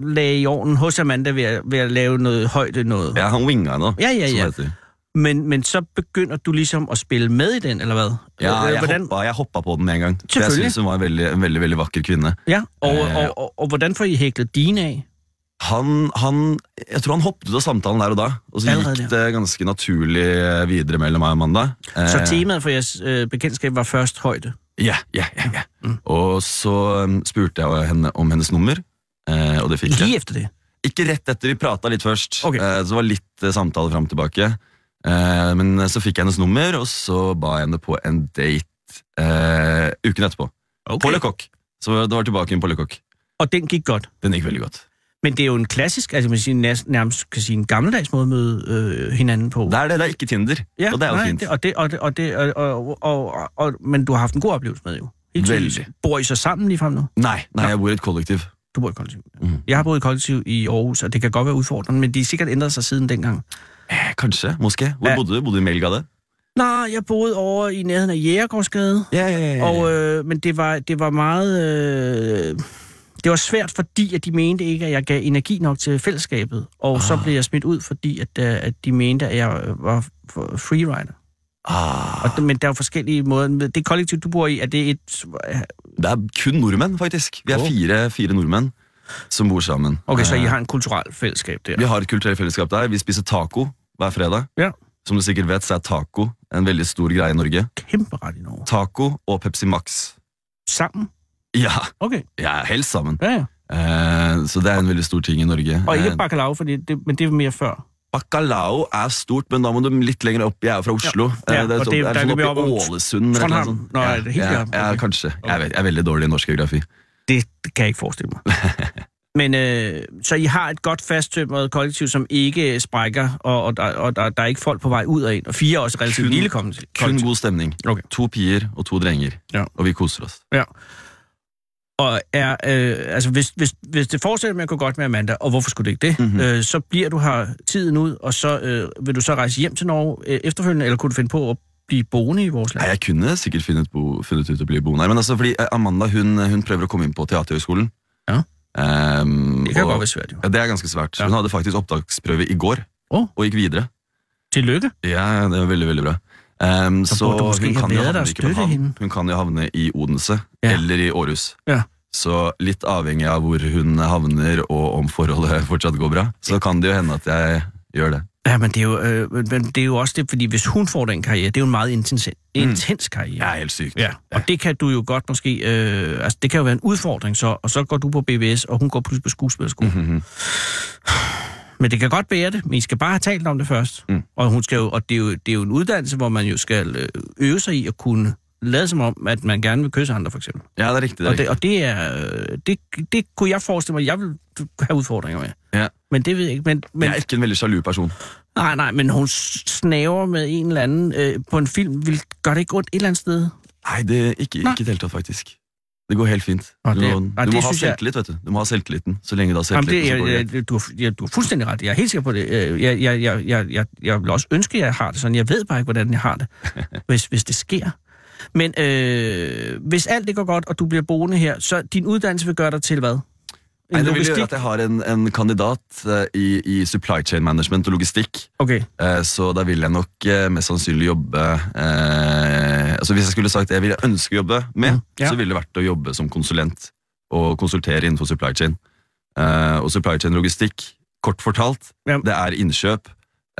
lagde i orden hos Amanda ved at, ved at lave noget højde noget. Ja, han winga henne. Ja, ja, som ja. det heter. Men, men så begynder du ligesom at spille med i den, eller hvad? ja Øh, jeg, hoppa, jeg hoppa på den med en gang. For Jeg Selvfølgelig. synes hun var en veldig, en veldig, veldig vakker kvinne. Ja, og, Øh. og, og, og, hvordan får I hæklet dine af? Han, han, jeg tror han hoppet ut av samtalen der og da, og så Allerede, gikk det ganske naturlig eh, videre mellom meg og Amanda. Så Eh, temaet for jeres øh, bekendtskab var først højde. Ja, ja, ja. ja. Og så um, spurte jeg henne om hennes nummer, eh, og det fikk jeg. Lige efter det. Ikke rett etter, vi prata litt først. Ok. Eh, så det var litt eh, samtale fram og tilbake. Eh, men så fikk jeg hennes nummer, og så ba jeg henne på en date eh, uken etterpå. På Le Coq. Så det var tilbake inn på Le Coq. Og den gik godt. Den gikk veldig godt. Men det er jo en klassisk, altså man siger, næs- nærmest kan sige en gammeldags måde at møde øh, hinanden på. Det er det, det er ikke Tinder. ja, og det er jo nej, fint. Det, og det, og det, og det, og, og, og, og, og, men du har haft en god oplevelse med det jo. Helt Vældig. tydeligt. Bor I så sammen ligefrem nu? Nei, nei, jeg bor i et kollektiv. Du bor i kollektiv. Mm. Jeg har boet i kollektiv i Aarhus, og det kan godt være udfordrende, men de har sikkert ændret sig siden dengang. Eh, kanskje. Moské. Hvor Ja. bodde du? Bodde du i Melgade? Nej, jeg boede over i nærheden af Jægergårdsgade, Ja, ja, ja. og, øh, men det var, det var meget... Øh, det var svært, fordi at de mente ikke, at jeg gav energi nok til fællesskabet. Og ah. så blev jeg smidt ud, fordi at, øh, at de mente, at jeg øh, var f- freerider. ah, Og, det- men der er jo forskellige måder. Det kollektiv, du bor i, er det et... det er kun nordmenn, faktisk. Vi er Åh. fire, fire nordmenn som bor sammen. Okay, så I Eh, har en kulturel fællesskab der. Vi har et kulturelt fellesskap der. Vi spiser taco hver fredag. Ja. Som du sikkert vet, så er taco en veldig stor greie i Norge. Kæmpe ret i Norge. Taco og Pepsi Max. Sammen? Ja, Okay, ja helst sammen. ja, ja. Eh, så det er en veldig stor ting i Norge. Og Eh, ikke bacalao, fordi det, men det er mere før. Bacalao er stort, men da må du litt lenger opp. Jeg er fra Oslo. Ja. Ja, Eh, og det- er der sånn kan vi oppe i op om Ålesund. eller Trondheim. noe sånt. Nå, ja, er det helt ja, deroppe? ja, Okay. kanskje. Jeg, Okay. vet, jeg er veldig dårlig i norsk geografi. Det kan jeg ikke forestille mig. Men øh, så I har et godt fasttømret kollektiv, som ikke øh, sprækker, og, og, der, og der, der er ikke folk på vej ud af en. Og fire er også et relativt Kun- lille kollektiv. Kun god stemning. Okay. To piger og to drenger. Ja. Og vi koser oss. Og er, øh, altså, hvis, hvis, hvis det fortsætter med at gå godt med Amanda, og hvorfor skulle det ikke det, Mhm. mm-hmm. øh, så bliver du her tiden ud, og så øh, vil du så rejse hjem til Norge øh, efterfølgende, eller kunne du finde på at blive boende i vores land? Nei, jeg kunne sikkert funnet, bo, funnet ut å bli boende her, men altså, fordi eh, Amanda hun, hun prøver å komme inn på Teaterhøgskolen. Ja. Ehm, det kan og- godt være svært, jo. Ja, det er ganske svært. Ja. Hun hadde faktisk opptaksprøve i går, Åh. og gikk videre. Tillykke. Ja, det var veldig, veldig bra. Ehm, Så så burde du måske hun have kan, jo været der havne og i København. støtte hende. hun kan jo havne i Odense Ja. eller i Aarhus. Ja. Så litt avhengig av hvor hun havner og om forholdet fortsatt går bra, så kan det jo hende at jeg gjør det. Ja, men det, er jo, øh, men men det er jo også det, fordi hvis hun får den karriere, det er jo en meget intens, intens karriere. Mm. Ja, helt sykt. Ja, og det kan du jo godt måske, øh, altså det kan jo være en udfordring så, og så går du på BVS, og hun går pludselig på skuespillerskolen. Mhm. Men det kan godt være det, men I skal bare have talt om det først. Mm. Og, hun skal jo, og det, er jo, det er jo en uddannelse, hvor man jo skal øh, øve sig i at kunne lade som om, at man gerne vil kysse andre, for eksempel. Ja, det er riktig. Det er Og riktig. det, og det er, øh, det, det kunne jeg forestille mig, jeg vil have udfordringer med. Ja. Men det ved jeg ikke. Men, men, Jeg er ikke en veldig sjalu person. Nej, nej, men hun snaver med en eller anden øh, på en film. Vil, gør det ikke ondt et eller andet sted? Nei, det, ikke, Nei. ikke i det hele tatt, faktisk. Det går helt fint. Ja, Du det- må, ja, du det må ha synes jeg- selvtillit, vet du. Du må ha selvtilliten. Så lenge du har Jamen, det, selvtilliten, så jeg, går det greit. jeg, du, har- ja, du har fuldstændig ret. Jeg er helt sikker på det. Øh, Jeg, jeg, jeg, jeg, jeg, jeg vil også ønske, at jeg har det sådan. Jeg ved bare ikke, hvordan jeg har det, hvis, hvis det sker. Men øh, hvis alt det går godt, og du bliver boende her, så din uddannelse vil gøre dig til hvad? En Nei, det vil gjøre at jeg har en, en kandidat eh, i, i supply chain management og logistikk. Okay. Eh, Så da vil jeg nok eh, mest sannsynlig jobbe eh, Altså Hvis jeg skulle sagt det jeg ville ønske å jobbe med, Mm, ja. så ville det vært å jobbe som konsulent og konsultere innenfor supply chain. Eh, Og supply chain logistikk, kort fortalt, Ja. det er innkjøp,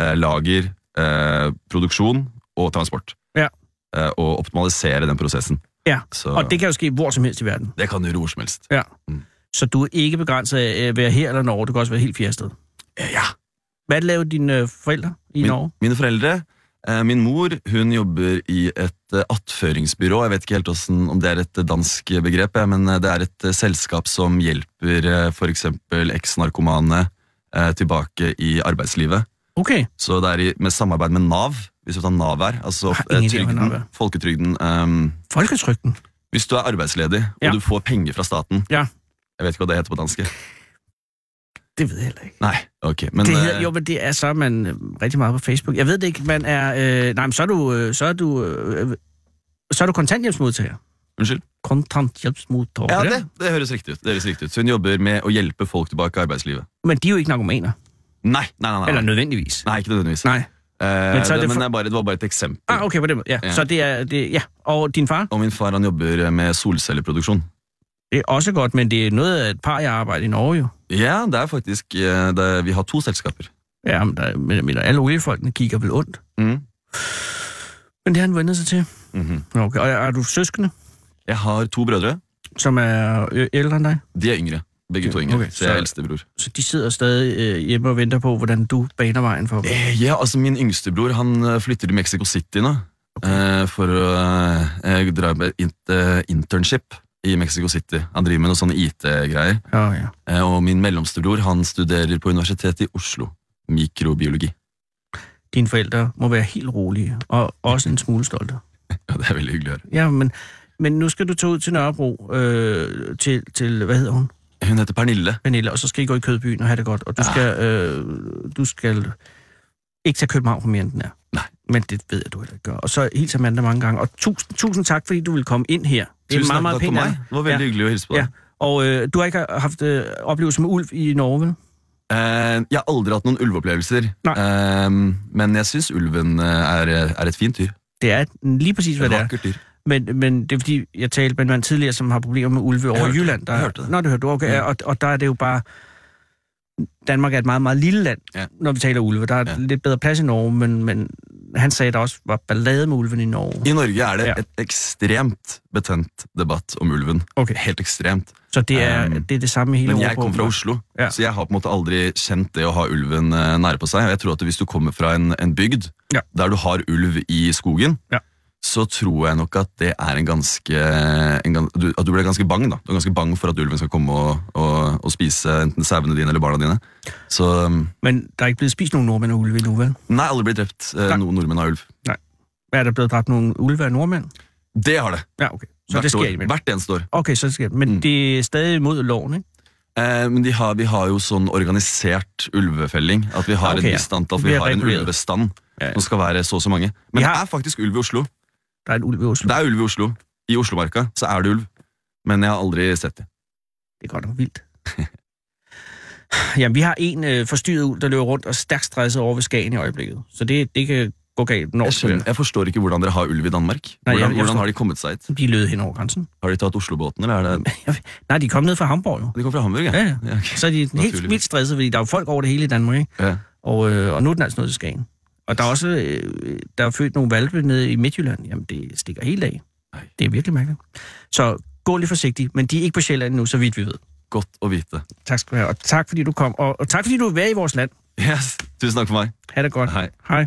eh, lager, eh, produksjon og transport. Ja. Eh, Og optimalisere den prosessen. Ja, Så Og det det, kan jo ske hvor som helst i verden. kan du gjøre hvor som helst. Så du er ikke begrænset af øh, at være her eller Norge. Du kan også være helt fjerde sted. Eh, Ja. Hvad laver dine øh, forældre i Min- Norge? Mine foreldre eh, Min mor hun jobber i et eh, attføringsbyrå. Jeg vet ikke helt hvordan, om det er et eh, dansk begrep, jeg, men eh, det er et eh, selskap som hjelper f.eks. eks-narkomane eh, tilbake i arbeidslivet. Okay. Så det er i, med samarbeid med Nav, hvis du tar Nav her, altså Jeg har eh, ingen idé om hva Nav trygden, er. folketrygden ehm, Folketrygten. Hvis du er arbeidsledig, Ja. og du får penger fra staten Ja. Jeg vet ikke hva det heter på dansk. Det ved jeg heller ikke. Nei, ok. Men, det hedder, eh, jo, men øh, det er så er man øh, rigtig meget på Facebook. Jeg ved det ikke, man er... Øh, nej, men så er du... Øh, så, er du øh, så er du kontanthjælpsmodtager. Unnskyld? Kontanthjælpsmodtager. Ja, det, det høres riktig ut. Det høres riktig ut. Så hun jobber med å hjelpe folk tilbake i arbeidslivet. Men de er jo ikke narkomaner. Nei, nei, nei, nei. Eller nødvendigvis. Nei, ikke nødvendigvis. Nej. Eh, Men så er det det, for- men det, er bare, det var bare et eksempel. Ah, okay, på den måde. Ja. Ja. Så det er... Det, ja. Og din far? Og min far han jobber eh, med solcelleproduksjon. Det er også godt, men det er noget af et par, jeg arbejder i Norge jo. Ja, det er faktisk eh, det, Vi har to selskaper. Ja, men, der, men, men alle oliefolkene kigger vel ondt. Mm. Men det har han vendt sig til. Mhm. Okay. Og er er du søskende, Jeg har to brødre. som er ø- ældre end dig? De er yngre. Begge to er yngre. Ok, så så- jeg er eldstebror. Så de sidder stadig øh, hjemme og venter på, hvordan du baner vejen for dem. Eh, ja, altså Min yngstebror han eh, flytter til Mexico City nå eh, for å eh, dra med int- eh, internship i Mexico City. Han driver med noe sånne IT-greier. Ja, ja. Eh, og min mellomstebror han studerer på Universitetet i Oslo. Mikrobiologi. Dine forældre må være helt rolige, og også en smule stolte. Ja, Det er veldig hyggelig å høre. Ja, men, men nu skal du tage ud til Nørrebro, øh, til, til, hvad hedder hun, Hun heter Pernille. Pernille, og så skal I gå i Kødbyen og have det godt, og du Ah. skal, øh, du skal ikke tage København for mere, end den er. Nej. Men det ved jeg, du heller ikke gør. Og så hilser Amanda mange gange, og tusind, tusind tak, fordi du vil komme ind her. Det er Tusen meget, takk meget for pænt af meg. dig. Det var veldig hyggelig å hilse på deg. Ja. Og øh, du har ikke haft øh, oplevelser med ulv i Norge, vel? Eh, jeg har aldri hatt noen ulveopplevelser. Nei. Eh, men jeg syns ulven eh, er, er et fint dyr. Det er lige præcis, hvad Et det er. vakkert dyr. Men, men det er fordi, jeg talte med en mand tidligere, som har problemer med ulve over i hørte det. Jylland. Der, Jeg hørte det. Nå, det hørte du. Okay, Ja. og, og der er det jo bare... Danmark er et meget, meget lille land, Ja. når vi taler ulve. Der er Ja. lidt bedre plads i Norge, men, men han sagde, at der også var ballade med ulven i Norge. I Norge er det Ja. et ekstremt betent debatt om ulven. Okay. Helt ekstremt. Så det er, Øhm, det, er det samme i hele Men Europa. jeg kommer fra åbenbart. Oslo, Ja. så jeg har på en måte aldri kjent det å ha ulven eh, nære på seg. Og jeg tror at hvis du kommer fra en, en bygd Ja. der du har ulv i skogen, Ja. så tror jeg nok at det er en ganske en, gan- du, At du blir ganske bang, da. Du er ganske bang for at ulven skal komme og, og, og spise enten sauene dine eller barna dine. Så um, Men der er ikke blevet spist nogen nordmænd af ulve endnu, vel? Nei, alle blir drept. Eh, Nei. Noen nordmenn har ulv. Er der blevet dræbt nogle ulve af nordmænd? Det har det. Ja, okay. Så det sker år. ikke. Hvert eneste år. Okay, så det sker det. Men Mm. det er stadig imod loven, ikke? Eh, men de har, vi har jo sånn organisert ulvefelling. At vi har Ok, ja. et visst antall, for Vi vi er har en regulert. ulvebestand Ja, ja. som skal være så og så mange. Vi Men det har- er faktisk ulv i Oslo. Der er en ulv i Oslo. Det er ulv i Oslo. I Oslomarka så er det ulv. Men jeg har aldri sett det. Det er godt nok vildt. Jamen, vi har en øh, forstyrret ulv, der løber rundt og er stærkt stresset over ved Skagen i øjeblikket. Så det, det kan gå galt når som Jeg, helst. skjønner, jeg forstår ikke hvordan dere har ulv i Danmark. Nei, jeg- Hvordan, jeg hvordan forstår- har de kommet seg hit? De lød hen over grænsen. Har de tatt Oslobåten, eller er det Nej, de kom ned fra Hamburg jo. De kom fra Hamburg, Ja, ja. ja ok. Så er de helt Naturligvis. vildt stresset, fordi der er jo folk over det hele i Danmark, ikke? ja. Og, øh, og nu er den altså nået til Skagen. Og der er også øh, der er født nogle valpe nede i Midtjylland. Jamen, det stikker helt af. Ej. Det er virkelig mærkeligt. Så gå lidt forsigtigt, men de er ikke på Sjælland nu, så vidt vi ved. Godt å vite. Tak skal du have, og tak fordi du kom. Og, og tak fordi du er været i vores land. Yes. Tusen takk for meg. Ha' det godt. Hei. Hej.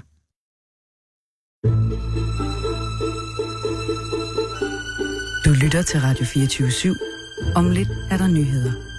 Du lytter til Radio 24 /7. Om lidt er der nyheder.